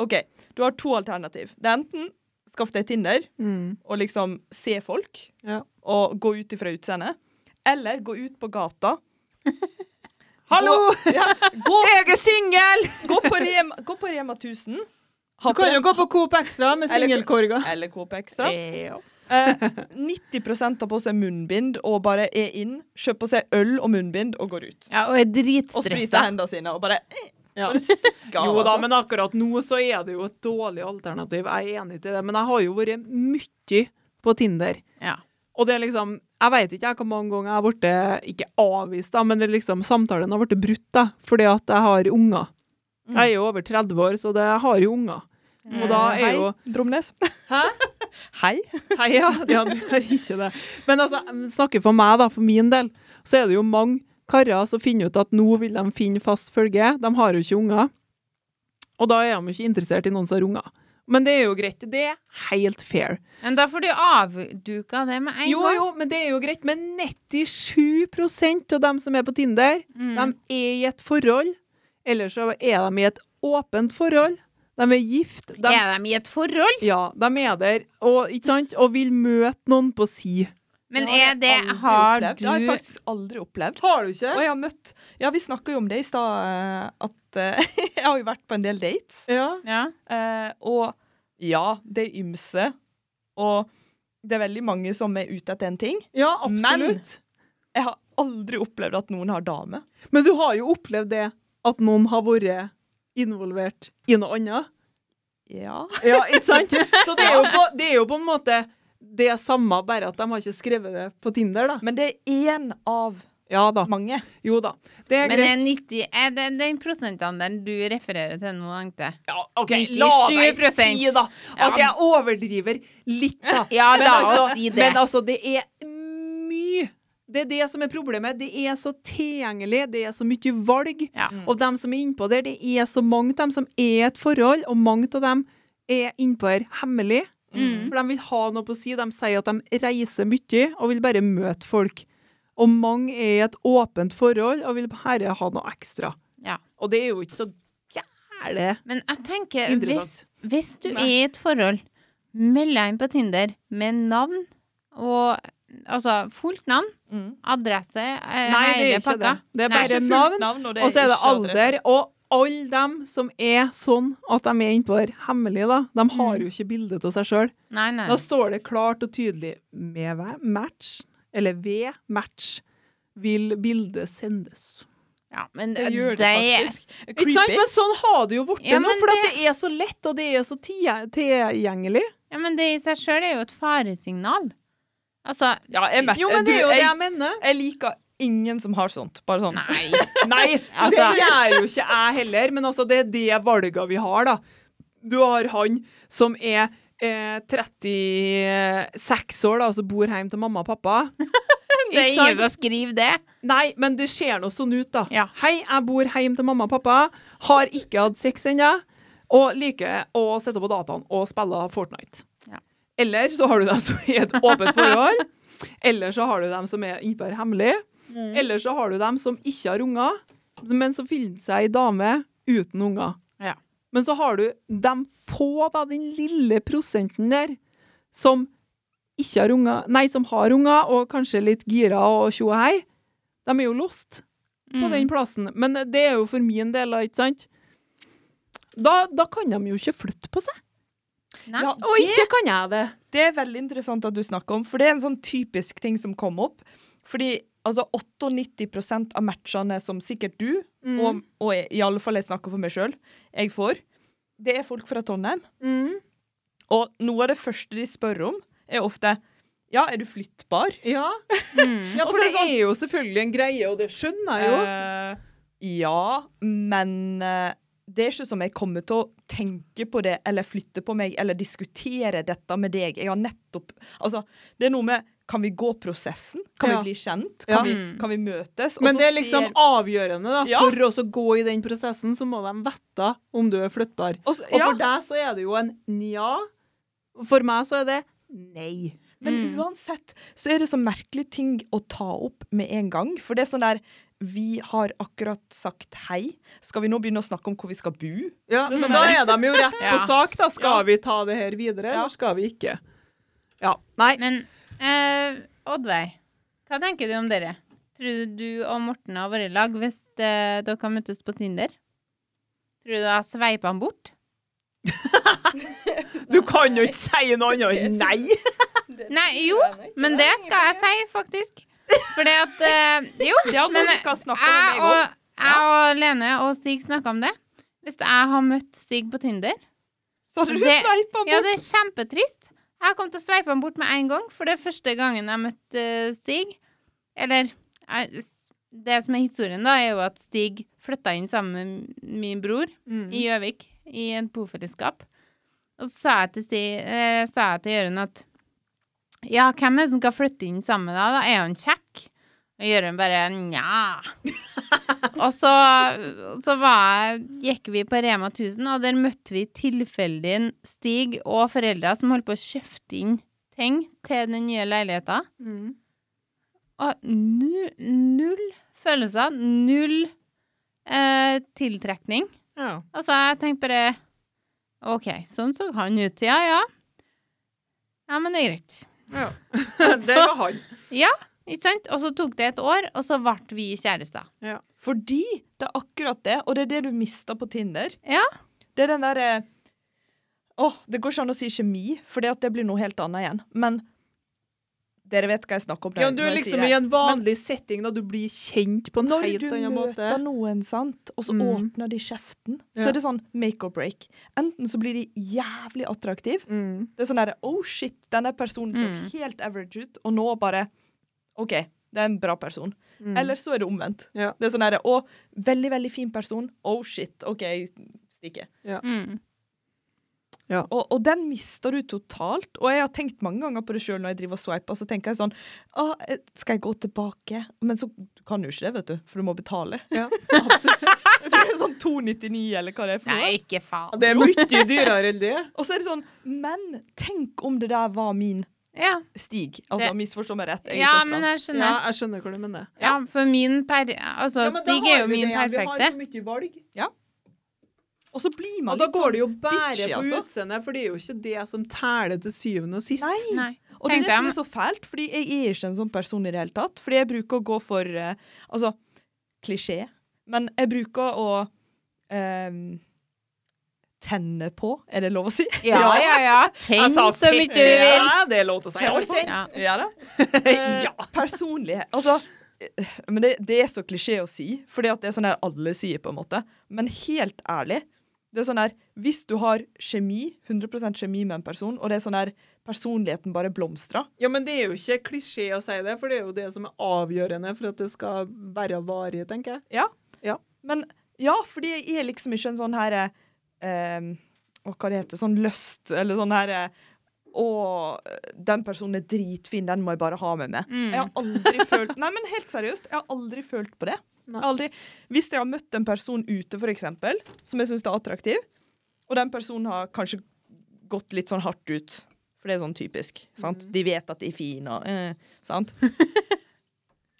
OK, du har to alternativ. Det er enten skaff deg Tinder Mm. og liksom se folk Ja. og gå ut ifra utseendet. Eller gå ut på gata. Hallo! Gå, ja, gå, Jeg er singel! gå, på Rema, gå på Rema 1000. Du kan jo gå på Coop Extra med Eller- singelkorga. Eller Coop Extra. Ja. Eh, 90 tar på seg munnbind og bare er inn, kjøper på seg øl og munnbind og går ut. Ja, og er Og spriter dritstressa. hendene sine og bare Ja. stikker av. Jo da, altså. men akkurat nå så er det jo et dårlig alternativ. Jeg er enig til det, men jeg har jo vært mye på Tinder. Ja. Og det er liksom Jeg veit ikke jeg hvor mange ganger jeg har blitt eh, ikke avvist, da, men det er liksom samtalen har blitt brutt da, fordi at jeg har unger. Mm. Jeg er jo over 30 år, så det, jeg har jo unger. Og da Eh, er jo Hei, Dromnes. Hæ? Hei. Hei, ja. ja, du har ikke det. Men altså, jeg snakker for meg, da, for min del, så er det jo mange karer som finner ut at nå vil de finne fast følge. De har jo ikke unger. Og da er de jo ikke interessert i noen som har unger. Men det er jo greit. Det er helt fair. Men da får du avduka det med en Jo, gang. jo, men det er jo greit. Men 97 av dem som er på Tinder, Mm. de er i et forhold. Eller så er de i et åpent forhold. De er gift. De, Er de i et forhold? ja, de er der og, ikke sant? og vil møte noen på si. Men Det har jeg er det aldri Har opplevd. Det har jeg du faktisk aldri opplevd. Har du ikke? Og jeg har møtt Ja, vi snakka jo om det i stad, eh, at eh, jeg har jo vært på en del dates. Ja. Ja. Eh, og ja, det er ymse. Og det er veldig mange som er ute etter en ting. Ja, Men- absolutt. Jeg har aldri opplevd at noen har dame. Men, du har jo opplevd det at noen har vært involvert i noe annet. Ja. Ja, ikke sant? Så det er jo på, det er jo på en måte det samme, bare at de har ikke skrevet det på Tinder, da. Men det er én av Ja da. mange. Jo da. Det er Men greit. er, 90, er det den prosentandelen du refererer til nå, Ankte? Ja, OK, la meg 97%. si, da, Ja. at jeg overdriver litt, da. Ja, Men la altså- oss si det. Men altså, det er mye. Det er det som er problemet. Det er så tilgjengelig, det er så mye valg. Ja. Og dem som er innpå der, det er så mange av dem som er i et forhold, og mange av dem er innpå her hemmelig. Mm. For de vil ha noe på å si. De sier at de reiser mye og vil bare møte folk. Og mange er i et åpent forhold og vil bare ha noe ekstra. Ja. Og det er jo ikke så gæle. Men jeg tenker, hvis, Interessant. hvis du Nei. er i et forhold, meld deg inn på Tinder med navn og Altså fullt navn, Mm. adresse, eh, Nei, det hele er pakka. ikke det. Det er Nei. bare Ikke fullt navn. navn, og Og så er det ikke adresse. alder. Og alle dem som er sånn at de er innpå her hemmelig, da, de har jo ikke bilde av seg sjøl. Nei, nei. Da står det klart og tydelig med hver match. eller ved match, vil bildet sendes. Ja, men Det gjør det det- faktisk. Ikke sant? Men sånn har det jo blitt Ja, nå, men for at det- det er så lett, og det er så tie- tilgjengelig. Ja, men det i seg sjøl er jo et faresignal. Altså Ja, jeg, merker- Jo, men det er jo du, det jeg, jeg mener. jeg liker ingen som har sånt. Bare sånn. Nei. Nei, det Altså- gjør jo ikke jeg heller, men altså, det er det valget vi har, da. Du har han som er eh, 36 år, da, som bor hjemme til mamma og pappa. Det er Ikke sant? ingen som skriver det. Nei, men det ser nå sånn ut, da. Ja. Hei, jeg bor hjemme til mamma og pappa. Har ikke hatt sex ennå. Og liker å sitte på dataen og spille Fortnite. Ja. Eller så har du dem som er i et åpent forhold. Eller så har du dem som er innenfor hemmelig. Mm. Eller så har du dem som ikke har unger, men som finner seg ei dame uten unger. Ja. Men så har du de få, da, den lille prosenten der, som ikke har unger, nei, som har unger, og kanskje litt gira og tjo og hei. De er jo lost Mm. på den plassen. Men det er jo for min del, da, ikke sant? Da, da kan de jo ikke flytte på seg. Nei. Ja, Og ikke kan jeg det. Det er veldig interessant at du snakker om, for det er en sånn typisk ting som kom opp. Fordi altså 98 av matchene som sikkert du, Mm. og, og jeg, i alle fall jeg snakker for meg sjøl, jeg får, det er folk fra Trondheim. Mm. Og noe av det første de spør om, er ofte Ja, er du flyttbar? Ja. Mm. ja, for Og så er det det sånn- er jo selvfølgelig en greie, og det skjønner jeg jo. Eh, ja, men eh, det er ikke som jeg kommer til å tenke på det, eller flytte på meg, eller diskutere dette med deg. Jeg har nettopp Altså, det er noe med Kan vi gå prosessen? Kan Ja. vi bli kjent? Ja. Kan, vi, Mm. kan vi møtes? Og Men så det er liksom ser- avgjørende, da. Ja. For oss å gå i den prosessen, så må de vite om du er flyttbar. og så, Og ja, for deg så er det jo en nja. For meg så er det nei. Men Mm. uansett så er det så merkelig ting å ta opp med en gang. For det er sånn der Vi har akkurat sagt hei. Skal vi nå begynne å snakke om hvor vi skal bo? Ja, Det er så sånn da der- er de jo rett på Ja. sak, da. Skal Ja. vi ta det her videre, Ja. eller skal vi ikke? Ja. Nei. Men eh, Oddveig, hva tenker du om dere? Tror du du og Morten har vært i lag hvis eh, dere har møttes på Tinder? Tror du du har sveipa han bort? Du kan jo ikke si noe annet enn nei! Det Nei, tror jo, jeg nok. men Nei, det skal jeg egentlig. si, faktisk. Fordi at eh, Jo, Det har Men, Monica snakka med jeg meg om. og, jeg og Lene og Stig snakka om det. Hvis jeg har møtt Stig på Tinder Så hadde du det- sveipa bort. Ja, det er kjempetrist. Jeg kom til å sveipe han bort med en gang, for det er første gangen jeg møtte eh, Stig. Eller jeg- s- Det som er historien, da, er jo at Stig flytta inn sammen med min bror Mm. i Gjøvik, i et bofellesskap. Og så sa jeg til, Sti, eh, sa jeg til Jørund at ja, hvem er det som skal flytte inn sammen med deg, da? Er han kjekk? Og Jørund bare nja. og så, så var, jeg- gikk vi på Rema 1000, og der møtte vi tilfeldig en Stig og foreldre som holdt på å kjøpte inn ting til den nye leiligheta. Mm. Og nu, null følelser, null eh, tiltrekning. Ja. Altså, jeg tenkte bare OK, sånn så han ut. Ja, ja. Ja, men det er greit. ja. Det var han. Ikke sant? Og så tok det et år, og så ble vi kjærester. Fordi det er akkurat det, og det er det du mister på Tinder. Ja. Det er den derre Å, det går ikke an å si kjemi, for det blir noe helt annet igjen. Men dere vet hva jeg snakker om. når Ja, jeg- du når er jeg sier liksom det. i en vanlig setting da du blir kjent på en Når helt du annen måte. møter noen, sant, og så Mm. åpner de kjeften, så Ja. er det sånn make or break. Enten så blir de jævlig attraktive. Mm. Det er sånn derre Oh shit, denne personen så Mm. helt average ut, og nå bare OK, det er en bra person. Mm. Eller så er det omvendt. Ja. Det er sånn derre Å, veldig, veldig fin person. Oh shit, OK, stikker. Mm. Og, og den mister du totalt. Og jeg har tenkt mange ganger på det sjøl når jeg driver og swiper, så tenker jeg sånn Å, eh, skal jeg gå tilbake? Men så kan du ikke det, vet du, for du må betale. Altså, Ja. Jeg tror det er sånn 299 eller hva det er for noe. Nei, ikke faen. Det er mye dyrere enn det. Og så er det sånn Men tenk om det der var min Ja, Stig. Altså, Det- misforstå meg rett, jeg er ja søsteren men eh, hans. jeg skjønner. jeg skjønner hva du mener. Ja, for min per... Altså, Stig er jo min perfekte. mye valg. Og så blir man Og da litt går det sånn jo bare bitchy, på altså. utseendet, for det er jo ikke det som tæler til syvende og sist. sånn, Nei. Nei. Og det er Tenkte det jeg, som men- er så fælt, fordi jeg er ikke en sånn person i det hele tatt. Fordi jeg bruker å gå for eh, Altså, klisjé. Men jeg bruker å eh, ehm, tenne på, er det lov å si? Ja, ja, ja. Tenn Jeg sa så mye du vil. Ja, det er lov til å si alt, det. Ja. Ja da. Ja. Eh, Personlighet. Altså, eh, men det, det er så klisjé å si, fordi at det er sånn her alle sier, på en måte. Men helt ærlig, det er sånn her Hvis du har kjemi, 100 kjemi med en person, og det er sånn her personligheten bare blomstrer Ja, men det er jo ikke klisjé å si det, for det er jo det som er avgjørende for at det skal være varig, tenker jeg. Men ja, fordi jeg er liksom ikke en sånn her eh, ehm, Å, hva det heter Sånn lyst, eller sånn her eh, Å, den personen er dritfin, den må jeg bare ha med meg. Mm. Jeg har aldri følt Nei, men helt seriøst, jeg har aldri følt på det. Jeg har aldri, hvis jeg har møtt en person ute, for eksempel, som jeg syns er attraktiv, og den personen har kanskje gått litt sånn hardt ut, for det er sånn typisk, Mm. sant? De vet at de er fine, og eh, sant?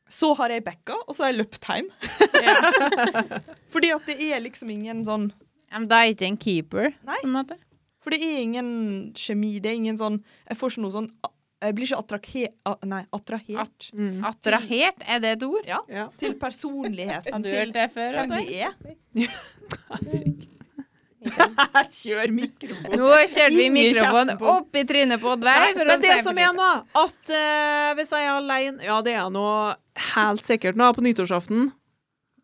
Så har jeg backa, og så har jeg løpt hjem. Ja. Fordi at det er liksom ingen sånn Ja, Men da er ikke en keeper, Nei. på en måte. For det er ingen kjemi, det er ingen sånn Jeg får ikke noe sånn Jeg blir ikke attrahe, a- nei, attrahert Mm. Attrahert, er det et ord? Ja. til personligheten Du til hørte det før? hvem Oddvar? de er. Kjør mikrofon. Nå kjørte vi Inn i mikrofonen kjeften på- opp i trynet på Oddveig. for å Men det si for som er lite. nå, at eh, hvis jeg er alene Ja, det er nå helt sikkert nå på nyttårsaften.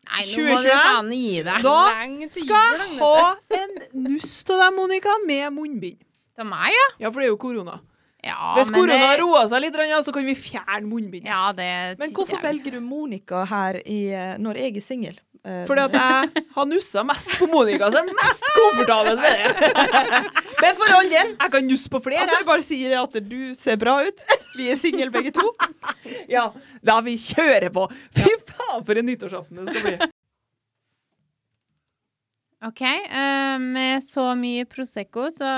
Nei, nå må du 2021? faen gi deg. Da Lenge til Skal jul, jeg ha en nuss av deg, Monica, med munnbind. Til meg, ja. Ja, for det er jo korona. ja Hvis men korona det- har roa seg litt, ja, så kan vi fjerne munnbind. Ja, det Men hvorfor jeg- velger du Monica her i, eh, når jeg er singel? Eh, Fordi at jeg har nussa mest på Monica, så jeg er mest komfortabel med det. Men for all del, jeg kan nusse på flere. altså, jeg bare sier at du ser bra ut. Vi er single begge to. Ja, la vi kjøre på. Fy faen, for en nyttårsaften det skal bli. OK. eh, med så mye Prosecco så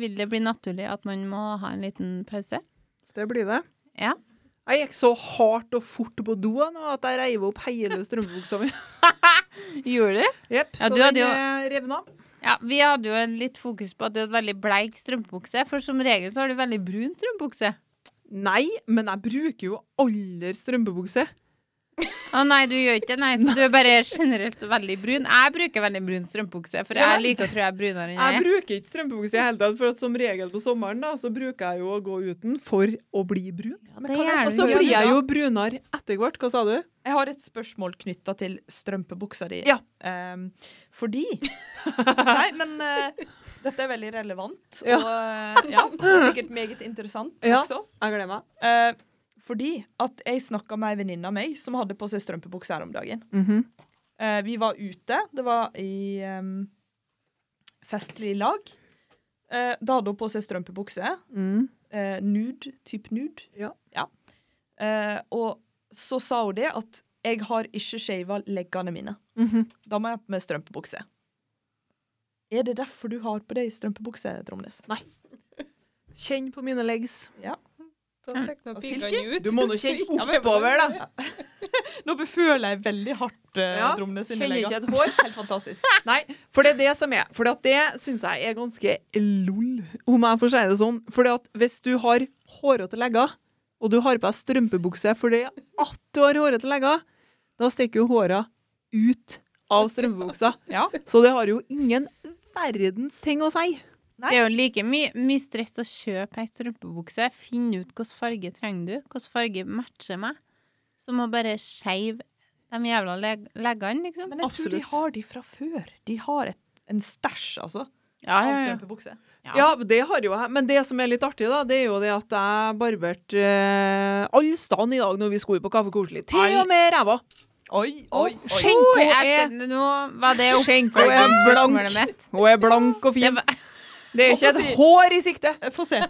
vil det bli naturlig at man må ha en liten pause. Det blir det. Ja. Jeg gikk så hardt og fort på do nå at jeg reiv opp hele strømpebuksa mi. Gjorde du? Jepp, Ja, så du hadde den jo- eh, revna. Ja, Vi hadde jo litt fokus på at du hadde veldig bleik strømpebukse, for som regel så har du veldig brun strømpebukse. Nei, men jeg bruker jo aller strømpebukse. Å nei, du gjør ikke det, nei, så du er bare generelt veldig brun. Jeg bruker veldig brun strømpebukse, for Ja, jeg liker å tro jeg er brunere enn Jeg jeg er. bruker ikke strømpebukse i det hele tatt, for at som regel på sommeren da, så bruker jeg jo å gå uten for å bli brun. Ja, Men kan Og jeg- gjør så du gjør blir du jeg da? jo brunere etter hvert. Hva sa du? Jeg har et spørsmål knytta til strømpebuksa di. Ja. Ehm, fordi Nei, men eh, dette er veldig relevant, Ja. og eh, ja, sikkert meget interessant Ja. også. Jeg gleder meg. Eh, fordi at jeg snakka med ei venninne av meg som hadde på seg strømpebukse her om dagen. Mhm. Eh, vi var ute. Det var i ehm, festlig lag. Eh, da hadde hun på seg strømpebukse. Mm. Eh, nude. Type nude. Ja. Eh, og så sa hun det at jeg har ikke shava leggene mine. Mhm. Da må jeg ha på meg strømpebukse. Er det derfor du har på deg strømpebukse, Dromnes? Kjenn på mine legs. Da stakk nå Og pikene ut. Mm. Du må nå kjenne oppover, da. Nå beføler jeg veldig hardt eh, Ja, Dromnes sine Kjenner ikke legger. et hår. Helt fantastisk. Nei, for det er det som er. For at det syns jeg er ganske lol, om jeg får si det sånn. For hvis du har hårete legger, og du har på deg strømpebukse fordi at du har hårete legger, da stikker jo håra ut av strømpebuksa. Ja. Så det har jo ingen verdens ting å si. Det er jo like mye, mye stress å kjøpe ei strømpebukse. Finne ut hvilken farge trenger du, hvilken farge matcher meg. Som å bare skeive de jævla leg leggene, liksom. Men jeg tror de Absolutt. har de fra før. De har et, en stæsj, altså. Ja, Av ja, ja. strømpebukse. Ja, det har jo jeg. Men det som er litt artig, da, det er jo det at jeg barberte eh, alle stedene i dag når vi skulle på Kaffe Koselig. Til og med ræva. Oi, oi, oi. Skjenko Oi, jeg er skal, nå var det Skjenko er oppfølgingsspørsmålet blank. mitt. Hun er blank Det og fin. var, Det er ikke et hår i sikte. Få se.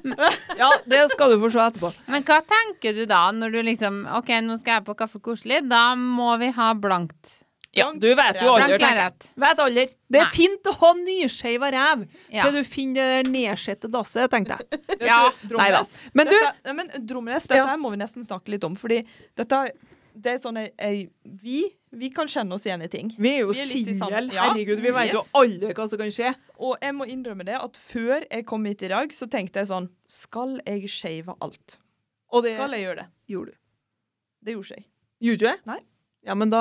Ja, det skal du få se etterpå. men hva tenker du da, når du liksom OK, nå skal jeg på Kaffe Koselig. Da må vi ha blankt. Ja, du vet jo Blankt aldri. tenker jeg. lerret. Vet aldri. Det er Nei. fint å ha nyskeiva ræv Ja. til du finner det nedsette dasset, tenkte jeg. Vet du, Ja. Nei da. Dromnes, Men du, dette, nei, men Dromnes, dette Ja. her må vi nesten snakke litt om, fordi dette er- det er sånn jeg, jeg, vi, vi kan kjenne oss igjen i ting. vi er jo Vi er litt i sam- single. Ja. Herregud, vi vet jo Yes. aldri hva som kan skje. Og jeg må innrømme det at før jeg kom hit i dag, så tenkte jeg sånn Skal jeg shave alt? Og det Skal jeg gjøre det? gjorde du. Det gjorde ikke jeg. Gjorde du det? Nei. Ja, men da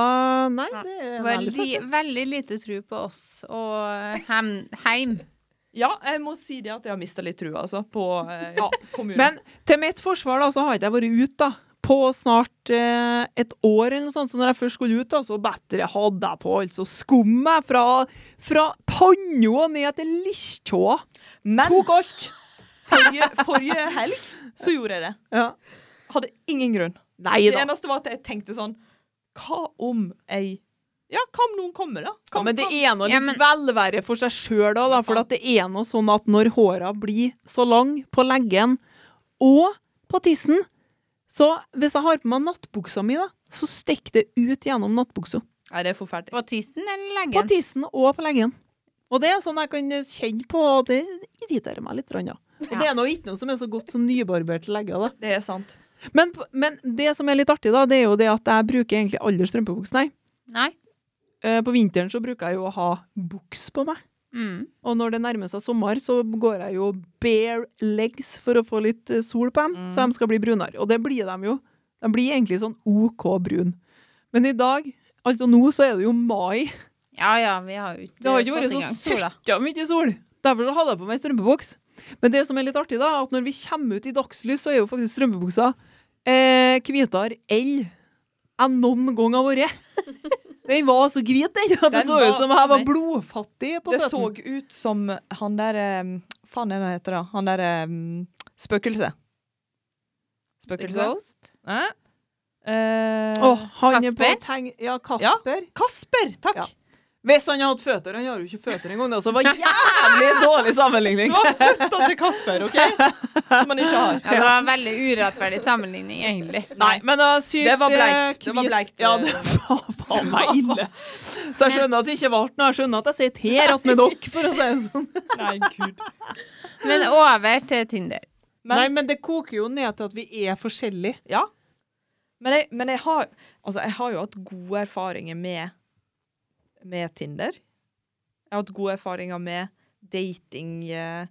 Nei, Nei. det er veldig Veldig, veldig lite tro på oss og hem, heim. Ja, jeg må si det at jeg har mista litt trua, altså, på eh, Ja. kommunen. Men til mitt forsvar da, så har ikke jeg vært ute da, på snart eh, et år eller noe sånt. Så når jeg først skulle ut, da, så bedre hadde jeg på altså skummet fra, fra panna og ned til lishtåa. Men Tok alt. forrige, forrige helg så gjorde jeg det. Ja. Hadde ingen grunn. Nei Det da. eneste var at jeg tenkte sånn Hva om jeg Ja, hva om noen kommer, da? Hva Ja, om- men det hva om- er noe litt Ja, men- velvære for seg sjøl, da, da. For at det er noe sånn at når håra blir så lang på leggen og på tissen Så hvis jeg har på meg nattbuksa mi, da, så stikker det ut gjennom nattbuksa. Nei, det er forferdelig. På tissen eller På leggen? tissen og på leggen. Og det er sånn jeg kan kjenne på, og det irriterer meg litt. grann, Ja. Og det er nå ikke noe som er så godt som nybarberte legger. da. Det er sant. Men, men det som er litt artig, da, det er jo det at jeg bruker egentlig aldri strømpebukse. Nei. Nei. Eh, På vinteren så bruker jeg jo å ha buks på meg. Mm. Og når det nærmer seg sommer, så går jeg jo bare legs for å få litt eh, sol på dem, Mm. så de skal bli brunere. Og det blir de jo. De blir egentlig sånn OK brun. Men i dag, altså nå, så er det jo mai. Ja ja, vi har jo ikke Det har ikke vært fått i så gang sola. søkka mye sol. Derfor så hadde jeg på meg strømpebuks. Men det som er litt artig, da, er at når vi kommer ut i dagslys, så er jo faktisk strømpebuksa eh, hvitere enn jeg noen gang har vært. Den var så hvit, den. at Det Den så ut var- som jeg var blodfattig på Det føttene. så ut som han der um, Faen, er det han heter da? Han der um, Spøkelset. The Spøkelse? Ghost? Hæ? Eh, Åh, han er på Kasper? teng... Ja, Kasper. Kasper, takk! Ja. Hvis han hadde hatt føtter Han har jo ikke føtter engang. Det også var jævlig dårlig sammenligning. Det var føtta til Kasper, OK? Som han ikke har. Ja, det var en veldig urettferdig sammenligning, egentlig. Nei, men det var sykt Det var eh, bleikt. Det var hvit- bleikt, Ja, eh. det var faen meg ille. Så jeg skjønner at det ikke ble noe. Jeg skjønner at jeg sitter her att med dere, for å si det sånn. Nei, gud. Men over til Tinder. Men- Nei, men det koker jo ned til at vi er forskjellige. Ja. Men jeg, men jeg, har, altså jeg har jo hatt gode erfaringer med, med Tinder. Jeg har hatt gode erfaringer med dating eh,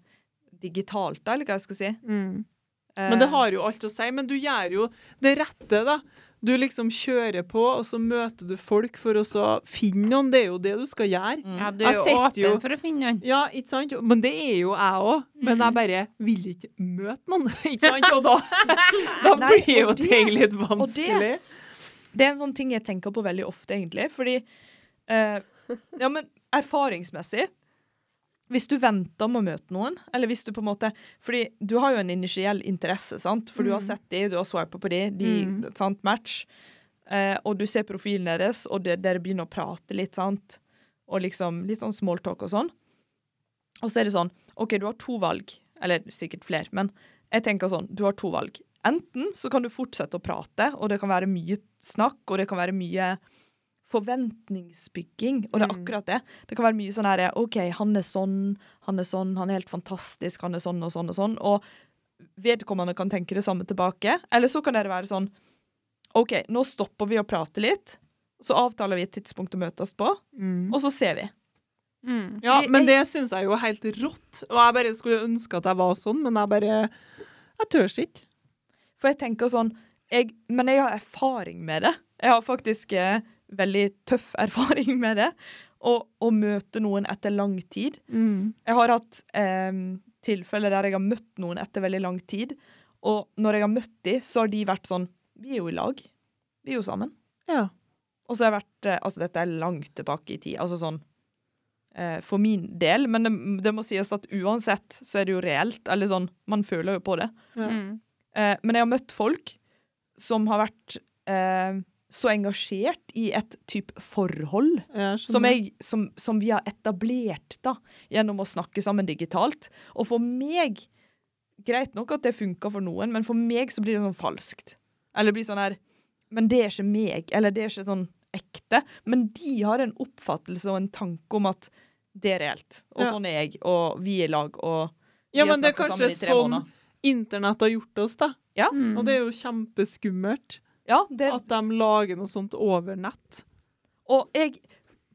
digitalt, da, eller hva jeg skal si. Eh, Men det har jo alt å si. Men du gjør jo det rette, da. Du liksom kjører på, og så møter du folk for å så finne noen. Det er jo det du skal gjøre. mm. Ja, du Jeg er jo sitter åpen jo- for å finne noen. Ja, ikke sant? Men det er jo jeg òg. Men Mm. jeg bare vil ikke møte noen, ikke sant? Og da, da Nei, blir jo og det- ting litt vanskelig. Det er en sånn ting jeg tenker på veldig ofte, egentlig. Fordi eh, Ja, men erfaringsmessig Hvis du venter med å møte noen, eller hvis du på en måte Fordi du har jo en initiell interesse, sant? For du har Mm. sett de, du har swipet på de, de Mm. sant, match. Eh, og du ser profilen deres, og det, dere begynner å prate litt, sant? Og liksom litt sånn smalltalk og sånn. Og så er det sånn OK, du har to valg. Eller sikkert flere, men jeg tenker sånn, du har to valg. Enten så kan du fortsette å prate, og det kan være mye snakk, og det kan være mye forventningsbygging, og det er Mm. akkurat det. Det kan være mye sånn her, ok, han er sånn, han er sånn, han er helt fantastisk, han er sånn og sånn og sånn, og vedkommende kan tenke det samme tilbake. Eller så kan dere være sånn, ok, nå stopper vi å prate litt, så avtaler vi et tidspunkt å møtes på, Mm. og så ser vi. Mm. Ja, Fordi men det jeg- syns jeg jo er helt rått. Og jeg bare skulle ønske at jeg var sånn, men jeg bare Jeg tør ikke. For jeg tenker sånn jeg, Men jeg har erfaring med det. Jeg har faktisk eh, veldig tøff erfaring med det. Å, å møte noen etter lang tid. Jeg har hatt eh, tilfeller der jeg har møtt noen etter veldig lang tid. Og når jeg har møtt dem, så har de vært sånn Vi er jo i lag. Vi er jo sammen. Ja. Og så har jeg vært eh, Altså, dette er langt tilbake i tid. Altså sånn eh, for min del, men det, det må sies at uansett så er det jo reelt. Eller sånn, man føler jo på det. Mm. Eh, men jeg har møtt folk som har vært eh, så engasjert i et type forhold Jeg som, skjønner. jeg, som, som vi har etablert da, gjennom å snakke sammen digitalt. Og for meg Greit nok at det funka for noen, men for meg så blir det sånn falskt. Eller det blir sånn her Men det er ikke meg. Eller det er ikke sånn ekte. Men de har en oppfattelse og en tanke om at det er reelt. Og Ja. sånn er jeg. Og vi er i lag. Og vi Ja, har men det er snakket kanskje sammen i tre sånn måneder. internett har gjort oss, da. Mm. Og det er jo kjempeskummelt ja, det, at de lager noe sånt over nett. Og jeg,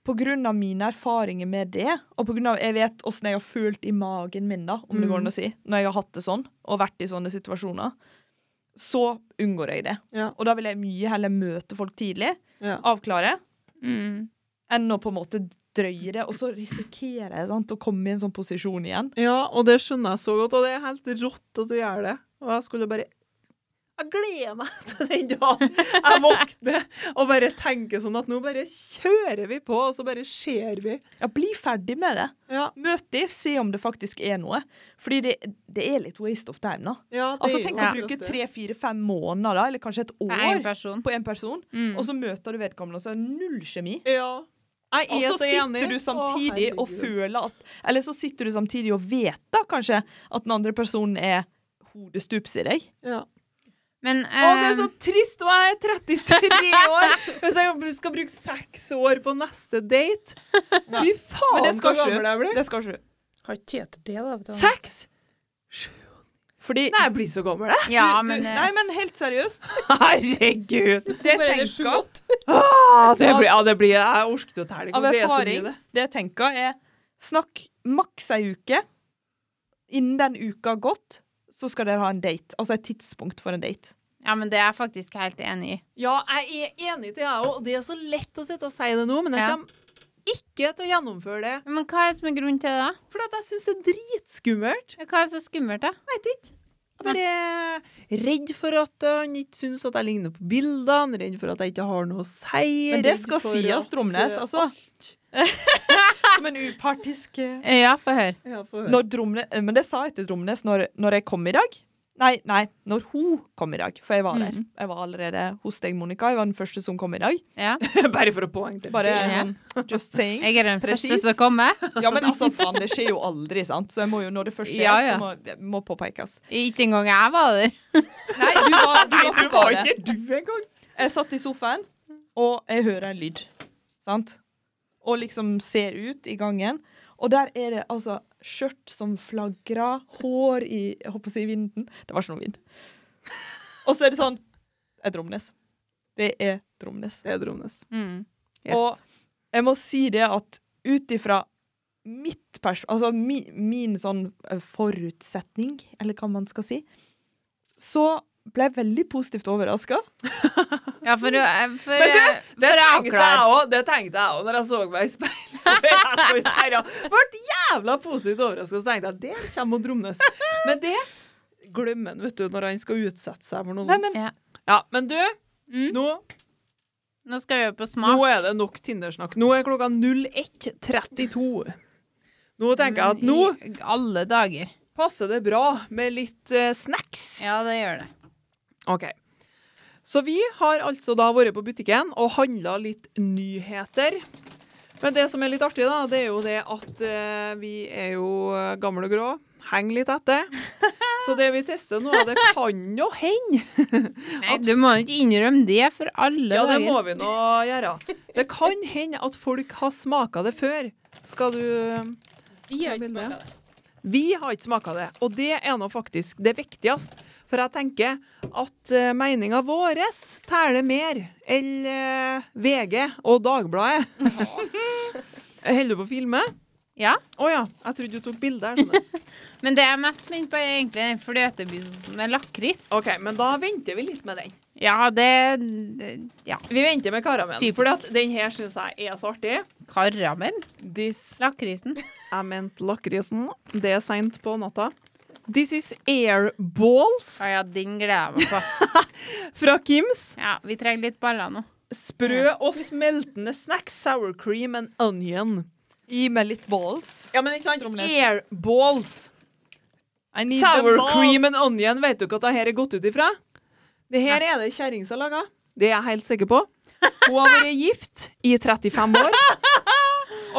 på grunn av mine erfaringer med det, og på grunn av jeg vet åssen jeg har følt i magen min, da, om det går an å si, når jeg har hatt det sånn, og vært i sånne situasjoner, så unngår jeg det. Ja. Og da vil jeg mye heller møte folk tidlig, Ja. avklare, Mm. enn å på en måte drøyer det, og så risikerer jeg sant, å komme i en sånn posisjon igjen. Ja, og det skjønner jeg så godt, og det er helt rått at du gjør det. Og jeg skulle bare Jeg gleder meg til den dagen jeg våkner og bare tenker sånn at nå bare kjører vi på, og så bare ser vi. Ja, bli ferdig med det. Ja, Møt de, se om det faktisk er noe. Fordi det, det er litt waste of time, da. ja, det Altså, er jo tenk å Ja. akkurat bruke det. tre-fire-fem måneder, da, eller kanskje et For én år, person. på én person, Mm. og så møter du vedkommende, og så er det null kjemi. Ja. Jeg Og er så så enig. sitter du samtidig Å, og herregud. føler at Eller så sitter du samtidig og vet da kanskje at den andre personen er hodestups i deg. ja. Men Å, det er eh, så trist, og jeg er 33 år! Hvis jeg skal bruke seks år på neste date Fy faen, Men det hvor skal ikke gammel jeg blir. Det skal ikke du. Har ikke tid til det, da. vet du. Seks? Fordi Nei, jeg blir så gammel, jeg. Ja, du, men du, eh, Nei, men helt seriøst. Herregud. Det Bare er jeg det sju, tenker åtte? Ah, det blir, ja, det blir Jeg orker ikke å telle. av engang. Det er så mye, erfaring, det. det jeg tenker, er snakk maks ei uke. Innen den uka har gått, så skal dere ha en date. Altså et tidspunkt for en date. ja, men det er jeg faktisk helt enig i. Ja, jeg er enig til jeg òg. Det er så lett å sitte og si det nå, men jeg Ja. kommer ikke til å gjennomføre det. Men hva er det som er grunnen til det, da? For at jeg syns det er dritskummelt. Hva er det så skummelt, da? Veit ikke. Jeg bare er redd for at eh, han ikke syns at jeg ligner på bildene, redd for at jeg ikke har noe å si. Men det redd skal for sies, at- Stromnes, altså. Som en upartisk eh, Ja, få høre. Ja, få høre. når Dromne, eh, Men det sa jeg til Dromnes når, når jeg kom i dag. Nei, nei, når hun kom i dag, for jeg var der. Mhm. Jeg var allerede hos deg, Monica. Jeg var den første som kom i dag. Ja. Bare for å poengtere. Bare Ja. sånn, just saying. Jeg er den Presis. første som kommer. Ja, men altså, faen, det skjer jo aldri, sant? Så jeg må jo, når det første Ja, er, ja. så må, må påpekes. Ikke engang jeg var der. Nei, du var, du var på badet. du engang. Jeg satt i sofaen, og jeg hører en lyd. Sant? Og liksom ser ut i gangen. Og der er det altså skjørt som flagrer, hår i jeg håper å si vinden. Det var ikke noe vind. Og så er det sånn Det er Dromnes. Det er Dromnes. Det er Dromnes. Mm. Yes. Og jeg må si det at ut ifra mitt pers... Altså mi, min sånn eh, forutsetning, eller hva man skal si, så ble jeg veldig positivt overraska. Ja, for, å- for, Men du, eh, for å Det tenkte jeg avklare òg, det tenkte jeg òg når jeg så meg i speilet. Jeg så ut her, ja. Ble jævla positivt overraska, så tenkte jeg der kommer hun Dromnes. Men det glemmer han, vet du, når han skal utsette seg for noe Nei, sånt. men Ja. Ja, men du, Mm. nå, Nå skal vi jo på nå smak. er det nok Tinder-snakk. Nå er klokka 01.32. Nå tenker jeg at nå I alle dager. passer det bra med litt eh, snacks. Ja, det gjør det. Ok. Så vi har altså da vært på butikken og handla litt nyheter. Men det som er litt artig, da, det er jo det at eh, vi er jo eh, gamle og grå. Henger litt etter. Så det vi tester nå, det kan jo hende. Nei, du må jo ikke innrømme det for alle Ja, det dager. må vi nå gjøre. Det kan hende at folk har smaka det før. Skal du Vi har ikke Begynn med. smaka det. Vi har ikke smaka det, og det er nå faktisk det viktigste. For jeg tenker at uh, meninga vår teller mer enn eh, VG og Dagbladet. Holder du på å filme? Ja. Å ja, jeg trodde du tok bilde. her, skjønner du. Men det jeg er mest spent på, er egentlig den fløtebissen med lakris. OK, men da venter vi litt med den. Ja, det, det Ja, Vi venter med karamellen, Typisk. for den her syns jeg er så artig. karamell. This Lakrisen. Jeg mente lakrisen. Det er seint på natta. This is airballs Å ja, den gleder jeg meg på. fra Kims. Ja, vi trenger litt baller nå. Sprø og smeltende snacks, sour cream and onion. Gi meg litt balls. Ja, men ikke sant? Tromles. Airballs. I need Sour them balls. cream and onion, vet du ikke at det her er gått ut ifra? Det her er det kjerring som laga. Det er jeg helt sikker på. Hun har vært gift i 35 år.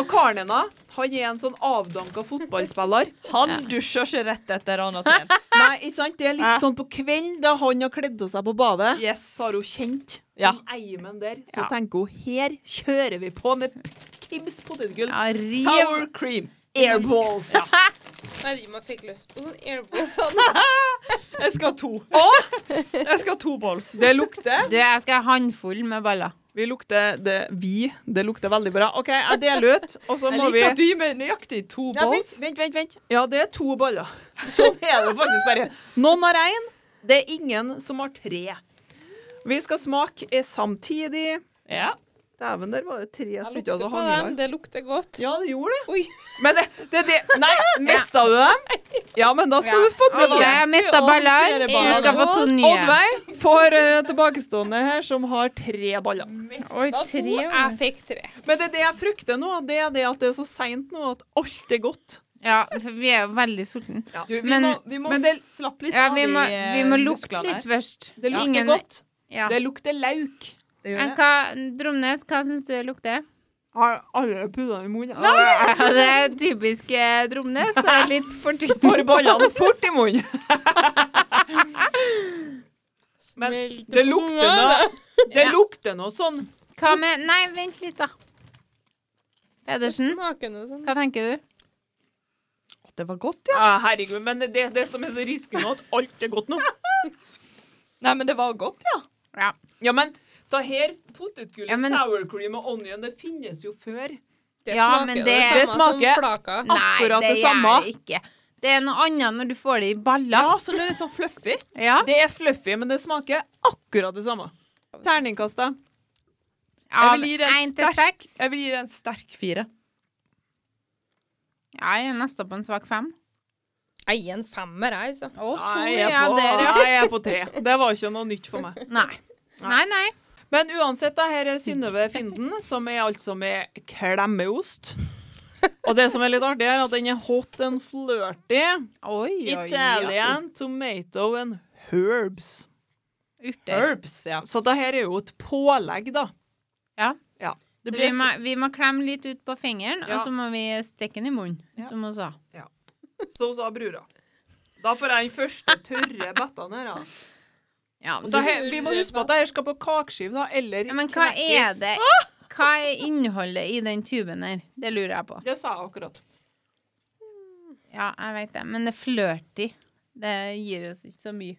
Og karen hennes, han er en sånn avdanka fotballspiller. Han dusjer ikke rett etter han har trent. Nei, ikke sant? Det er litt sånn på kvelden, da han har kledd av seg på badet, Yes. så har hun kjent Ja. den eimen der. Så Ja. tenker hun, her kjører vi på med Kims potetgull. Ja, riv. Sour cream. Airballs. Nei, Rima fikk lyst på sånn airballs. han. Jeg skal ha to. Jeg skal ha to balls. Det lukter. Du, jeg skal ha håndfull med baller. Vi lukter det, vi. Det lukter veldig bra. OK, jeg deler ut, og så Jeg må vi liker at du gir meg nøyaktig Nei, to vent, balls. vent, vent, vent. Ja, det er to baller. Sånn er det faktisk bare. Noen har én, det er ingen som har tre. Vi skal smake eh, samtidig. Ja. Dæven, der var det tre Jeg stykker lukter som på hang i dem, lag. det lukter godt. Ja, det gjorde det. Oi. Men det, det, det Nei, mista du dem? Ja, men da skal Ja. du få Ok, nye. Jeg mista baller. Jeg skal få to nye. Oddveig får eh, tilbakestående her, som har tre baller. Oi, Da to, tre jeg fikk tre. Men det er det jeg frykter nå, det er det at det er så seint nå at alt er godt. Ja, for vi er jo veldig sultne. Du, vi Men- må, vi må men det- slappe litt Ja, av vi må, de eh, vi må lukte musklene litt her. først. Det lukter Ingen- godt. Ja. Det lukter lauk. Det Men gjør det. hva, Dromnes, hva syns du det lukter? Har alle puddene i munnen? Ja, det er typisk eh, Dromnes. Det er litt for typisk. Får ballene fort i munnen. Men det lukter noe Det Ja. lukter noe sånn Hva med Nei, vent litt, da. Det Pedersen, smaker noe sånn. hva tenker du? Det var godt, ja. ah, Herregud, men det det er det som er så risky nå, at alt er godt nå. Nei, men det var godt, ja. Ja. Ja, men da her potetgullet, Ja, men- sour cream og onion, det finnes jo før. Det Ja, smaker men jo det- Det det samme smaker- som flaka. Nei, Akkurat det, det samme. gjør det ikke. Det er noe annet når du får det i Ja, baller. så det er litt sånn fluffy. Ja. Det er fluffy, men det smaker akkurat det samme. Terningkastet. Jeg Av vil gi det en én til sterk- seks. Jeg vil gi det en sterk fire. Ja, jeg er nesten på en svak fem. Jeg gir en femmer, jeg, så. Å, Nei, jeg ja, er på, der, ja. nei, jeg er på tre. Det var ikke noe nytt for meg. Nei. Nei, nei. Men uansett, da, her er Synnøve Finden, som er altså med klemmeost. Og det som er litt artig, er at den er hot and flirty. Oi, oi, oi. Italian tomato and herbs. Urter. Herbs, ja. Så det her er jo et pålegg, da. Ja. Ja. Så Det vi, blir må, vi må klemme litt ut på fingeren, Ja. og så må vi stikke den i munnen, Ja. som hun sa. Så sa brura. Da får jeg den første tørre bettaen her. Da. Ja, men, Da her, vi må huske på at det her skal på kakeskive, da, eller ja, men hva er knekkes. det Hva er innholdet i den tuben her? Det lurer jeg på. Det sa jeg akkurat. Ja, jeg vet det, men det er flørty. Det gir oss ikke så mye.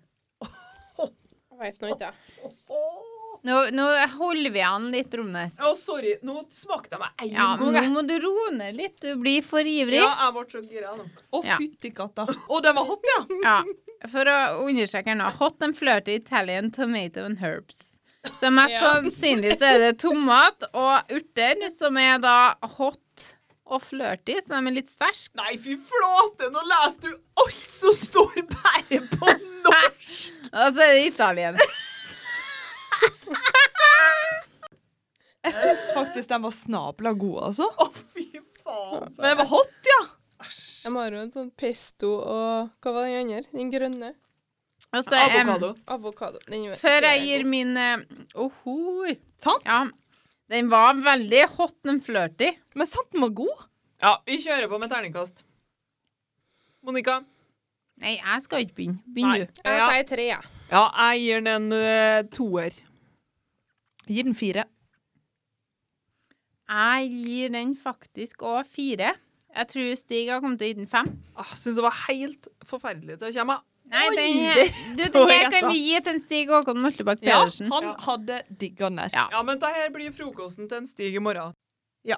Jeg vet nå ikke. jeg. Nå, nå holder vi an litt, Romnes. Å, sorry. Nå smakte jeg meg én Ja, men gang. nå jeg. må du roe ned litt. Du blir for ivrig. Ja, jeg ble så gira nå. Å, Ja. fytti katta. Å, den var hot, ja. Ja, for å understreke her nå. Hot and flirty Italian tomato and herbs. Så mest Ja. sannsynlig så er det tomat og urter, som er da hot og flirty, så de er litt sterke. Nei, fy flate, nå leser du alt som står bare på norsk! Og så er det italiensk. Jeg syns faktisk den var snabla god, altså. Å, fy faen. Men den var hot, ja. Jeg har jo en sånn pesto og Hva var den andre? Den grønne? Og så, em, Avokado. Avokado. Den er- den før jeg er gir god. min eh, Oho. Sant? Ja. Den var veldig hot and flirty. Men sant den var god? Ja, vi kjører på med terningkast. Monica? Nei, jeg skal ikke begynne. Nei. Begynn du. Jeg Ja, sier tre, jeg. ja, jeg gir den en eh, toer. Gi den fire. Jeg gir den faktisk òg fire. Jeg tror Stig har kommet til å gi den fem. Ah, Jeg syns det var helt forferdelig til å komme. Nei, Oi, den her, det du, den står her rett kan da. vi gi til en Stig Håkon Moltebakk Ja, Pedersen. han Ja. hadde digga den der. Ja. Ja, men det her blir frokosten til en Stig i morgen. Ja.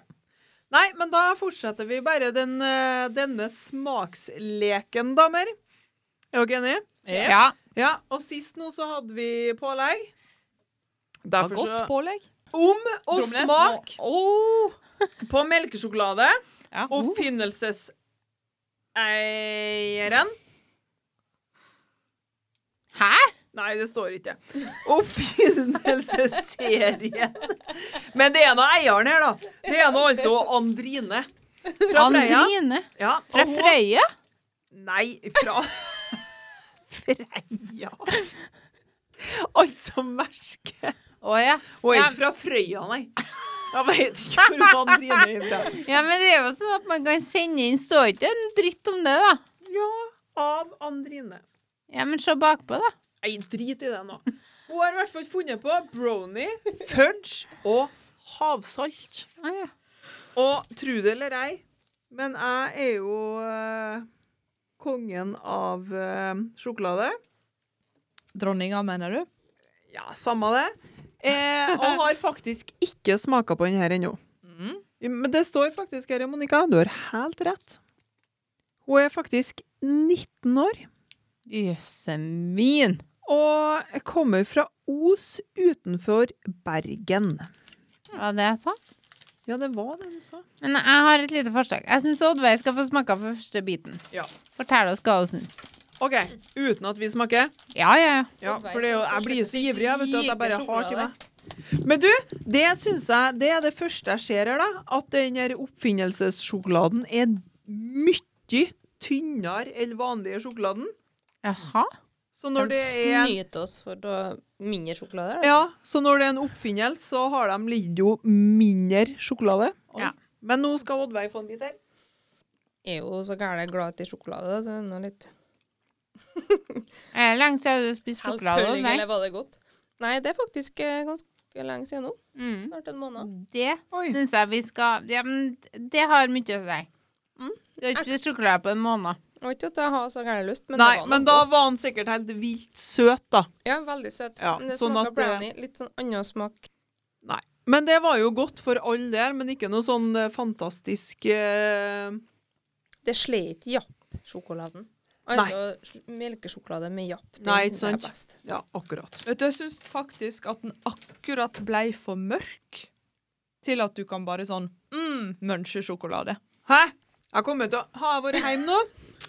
Nei, men da fortsetter vi bare den, eh, denne smaksleken, damer. Er dere enige? Ja. Ja, og sist nå så hadde vi pålegg. Det var godt så pålegg. Om og Dromles nå. smak Åh. på melkesjokolade. Ja. Oppfinnelseseieren Hæ? Nei, det står ikke. Oppfinnelsesserien. Men det er nå eieren her, da. Det er nå altså Andrine. Fra Freia. Andrine. Ja, og Fra hun- Frøya? Nei, fra Freia. Altså merke. Å ja. Hun er Ja. ikke fra Frøya, nei. Jeg vet ikke hvor Andrine er fra. ja. Men det er jo sånn at man kan sende inn Står ikke en dritt om det, da. Ja, av Andrine. Ja, men se bakpå, da. Nei, drit i det nå. Hun har i hvert fall funnet på brownie, fudge og havsalt. Å ja. Og tro det eller ei, men jeg er jo eh, kongen av eh, sjokolade. Dronninga, mener du? Ja, samme det. Eh, og har faktisk ikke smaka på den her ennå. Mm. Men det står faktisk her, Monica, du har helt rett. Hun er faktisk 19 år. Jøsse min. Og kommer fra Os utenfor Bergen. Var det det jeg sa? Ja, det var det du sa. Men jeg har et lite forslag. Jeg syns Oddveig skal få smake av første biten. Ja. Fortell oss hva hun syns. OK, uten at vi smaker. Ja, ja, ja. Ja, Oddveig for det er jo, som jeg blir jo så slipper ivrig jeg, vet du, at jeg bare lite har til sjokolade. meg. Men du, det syns jeg Det er det første jeg ser her, da. At den her oppfinnelsessjokoladen er mye tynnere enn vanlige sjokoladen. Jaha. Så De når det er en snyter oss for da mindre sjokolade. da. Ja, så når det er en oppfinnelse, så har de ligget jo mindre sjokolade. Ja. Men nå skal Oddveig få en bit her. Jeg er jo så gærent glad i sjokolade, da, så det er enda litt Er det lenge siden du spiste sjokolade? Oddveig? Selvfølgelig var det godt. Nei, det er faktisk eh, ganske lenge siden nå. Mm. Snart en måned. Det Oi. syns jeg vi skal Ja, men det har mye å si. Mm. Du har ikke spist sjokolade på en måned. Jeg vet ikke at jeg har så gæren lyst, men Nei, det var men noe da godt. var han sikkert helt vilt søt, da. Ja, veldig søt. Ja, men det sånn smaker at det- brownie. Litt sånn annen smak. Men det var jo godt for alle der, men ikke noe sånn eh, fantastisk eh, Det slår ikke japp-sjokoladen. Altså sj- melkesjokolade med japp. Den Nei, synes jeg sant. er best. Ja, akkurat. Vet du, jeg syns faktisk at den akkurat blei for mørk til at du kan bare sånn mm, munche sjokolade. Hæ? Jeg kommer til å Har jeg vært hjemme nå?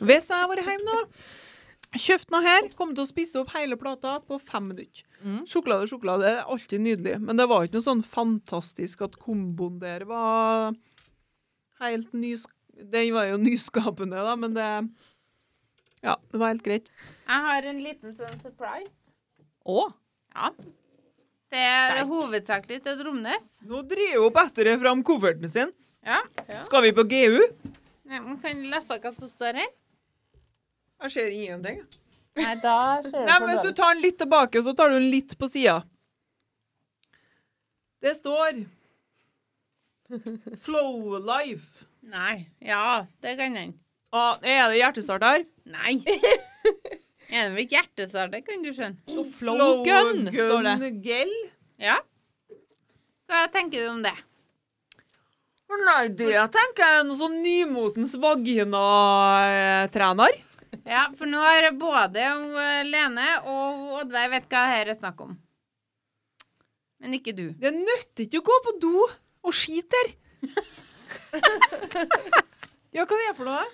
Hvis jeg har vært hjemme nå Kjøpt noe her. Kommer til å spise opp hele plata på fem minutter. Mm. Sjokolade sjokolade er alltid nydelig, men det var ikke noe sånn fantastisk at komboen der var helt nys... Den var jo nyskapende, da, men det Ja, det var helt greit. Jeg har en liten sånn surprise. Å, Ja. Det er hovedsakelig til Dromnes. Nå driver hun Petter fram kofferten sin. Ja. Skal vi på GU? Nei, men kan du lese hva som står her? Jeg ser ingenting. Nei, da ser Nei, men Hvis du tar den litt tilbake, så tar du den litt på sida. Det står Flow Life. Nei. Ja, det kan den. Ah, er det hjertestart her? Nei. Er det vel ikke hjertesår, det kan du skjønne. Flow gun, står det. Gun Gel. Ja. Hva tenker du om det? Å Nei, det tenker jeg er noe sånn nymotens vaginatrener. Ja, for nå har både hun, eh, Lene og hun Oddveig vet hva her er snakk om. Men ikke du. Det nytter ikke å gå på do og skite her. ja, hva er det for noe?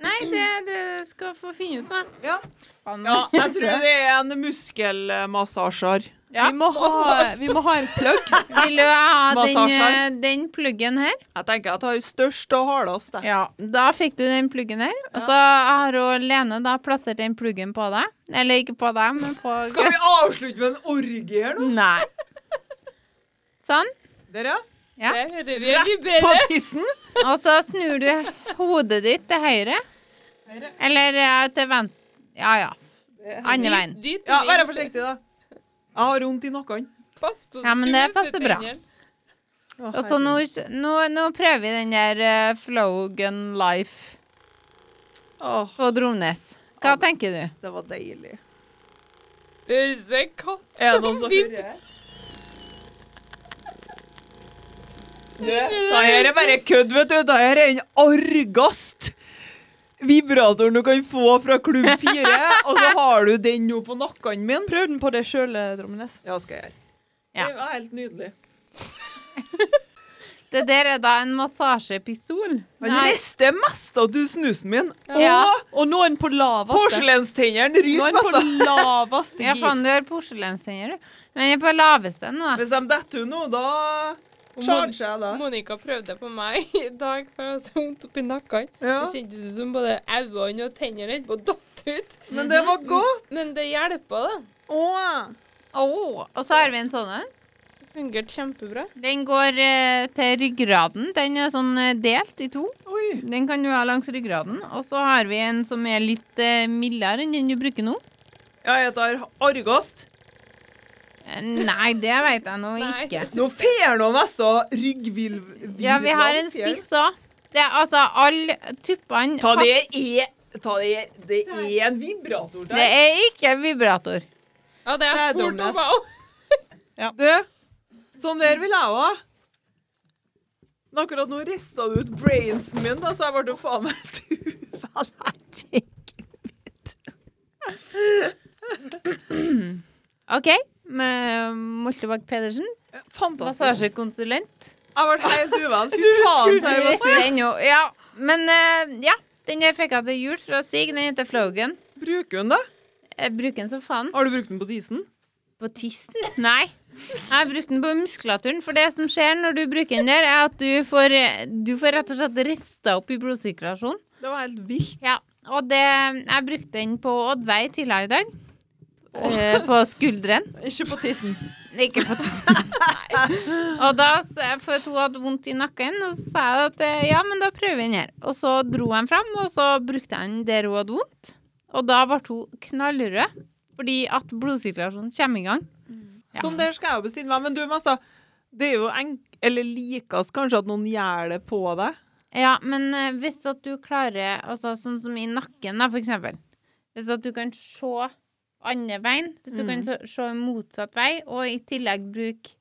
Nei, det, det skal få finne ut nå. Ja. Faen, ja, jeg tror det er en muskelmassasjer. Ja, vi, må ha, vi må ha en plugg. Vil du ha den, Massasjer. eh, den pluggen her? Jeg tenker jeg tar størst og hardest. jeg. Ja, da fikk du den pluggen her. Og så har hun Lene da plassert den pluggen på deg. Eller ikke på deg, men på Skal vi avslutte med en orgie her nå? Nei. Sånn. Dere? Ja. Det hører vi Rett på tissen. Og så snur du hodet ditt til høyre. Høyre. Eller eh, til venstre. Ja, ja. Andre veien. Dit Ja, vi- Vær forsiktig, da. Jeg har vondt i nakken. Pass på Ja, men det du mister passer bra. tennene. Å, Og så nå, nå, nå prøver vi den der eh, Flogan Life Åh, på Dromnes. Hva tenker du? det var deilig. Det høres en katt Er det noen som som vipper. hører? Det her er bare kødd, vet du. Det her er den argast vibratoren du kan få fra Klubb 4. Og så har du den nå på nakken min. Prøv den på deg eh, sjøl, Drommenes. Ja, skal jeg gjøre. Ja. Det var helt nydelig. Det der er da en massasjepistol. Han rister mest av du snusen min. Ja. Og Og nå er den på laveste. porselenstennene Nå er ryter den mest. på da. laveste Ja, gir. faen, du har porselenstenner, du. Men jeg er på laveste nå. da. Hvis de detter ut nå, da Og Mon- charger jeg, da. Monica prøvde på meg i dag, for jeg hadde så vondt oppi nakken. Ja. Det kjentes ut som både øynene og tennene holdt på å datte ut. Men det Mhm. var godt. Men det hjelper, da. Åh. Åh, og så har vi en sånn en. Det fungerte kjempebra. Den går eh, til ryggraden. Den er sånn eh, delt i to. Oi. Den kan du ha langs ryggraden. Og så har vi en som er litt eh, mildere enn den du bruker nå. Ja, jeg tar argast. Eh, Nei, det vet jeg nå Nei. ikke. Nå fer nå nesten ryggvilv... Ja, vi har en spiss òg. Det er altså alle tuppene Ta det fast. er... Ta det er... Det er en vibrator Det der. er ikke vibrator. Ja, det har jeg Det er spurt om, dummest. jeg òg. Du, sånn der vil jeg også. Men akkurat nå ristet du ut brainsen min, da, så jeg ble jo faen meg du. Faen, herregud. OK. med Moltebakk Pedersen. Fantastisk. Massasjekonsulent. Jeg ble helt uvel. Fy Du faen. skulle- Har jo også den jo. Ja. Men eh, ja, den der fikk jeg til jul fra Sig. Den heter Flogan. Bruker hun det? Jeg bruker den som faen. Har du brukt den på tisen? På tissen? Nei. Jeg har brukt den på muskulaturen. For det som skjer når du bruker den der, er at du får, eh, du får rett og slett rista opp i blodsirkulasjonen. Det var helt vilt. Ja. Og det, jeg brukte den på Oddveig tidligere i dag. Eh, på skulderen. Ikke på tissen. Ikke på tissen. og da, s- for hun hadde vondt i nakken, og så sa jeg at eh, ja, men da prøver vi den her. Og så dro jeg den fram, og så brukte jeg den der hun hadde vondt. Og da ble hun knallrød, fordi at blodsirkulasjonen kommer i gang. Ja. Sånn der skal jeg jo bestille meg. Men du, Masta, det er jo enk... Eller likes kanskje at noen gjør det på deg? Ja, men eh, hvis at du klarer altså, Sånn som i nakken, da, for eksempel. Hvis at du kan se andre veien, hvis du kan Mm. så, se motsatt vei, og i tillegg bruke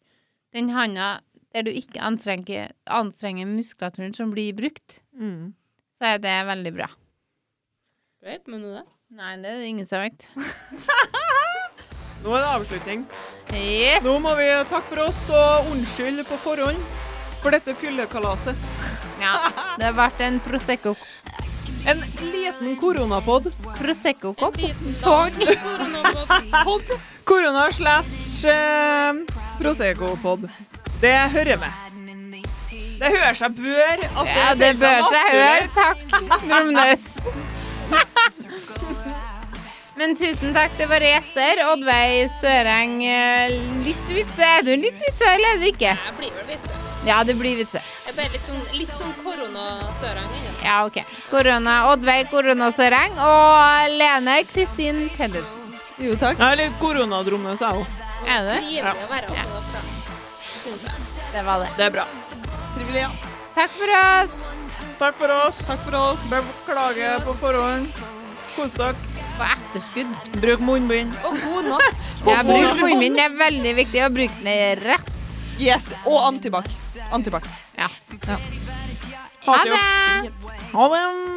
den handa der du ikke anstrenger, anstrenger muskulaturen som blir brukt, Mm. så er det veldig bra. Vet men nå det. Nei, det er det ingen som vet. Nå er det avslutning. Yes! Nå må vi takke for oss og unnskylde på forhånd for dette fyllekalaset. Ja, det ble en Prosecco- En liten koronapod. Prosecco-kopp. Liten Tog. lang koronapod. Pod. Korona slash eh, Prosecco-pod. Det hører med. Det hører seg bør at det, Ja, det bør seg høre. Takk, Brumnes. Men tusen takk. Det var Eter, Oddveig Søreng eh, Litt vitsø. Er du litt vitsø, eller er du ikke? Jeg blir vel litt sånn. Ja, det blir vitsø. Jeg er bare litt sånn, litt sånn koronasørang ennå. Ja, OK. Korona, Oddveig Korona Søreng og Lene Kristin Pedersen. Jo, takk. Nei, litt koronadrommet, sa jeg òg. Er du? Trivelig å være på Frans, synes jeg. Det var det. Det er bra. Trivelig, ja. Takk for oss. Takk for oss. Takk for oss. Beklager på forhånd. Kos dere. På etterskudd. Bruk munnbind. Og god natt. Jeg bruker munnen min. Det er veldig viktig å bruke den rett. Yes. Og antibac. Antibac. Ja. Ha Ha det. det. Ha det.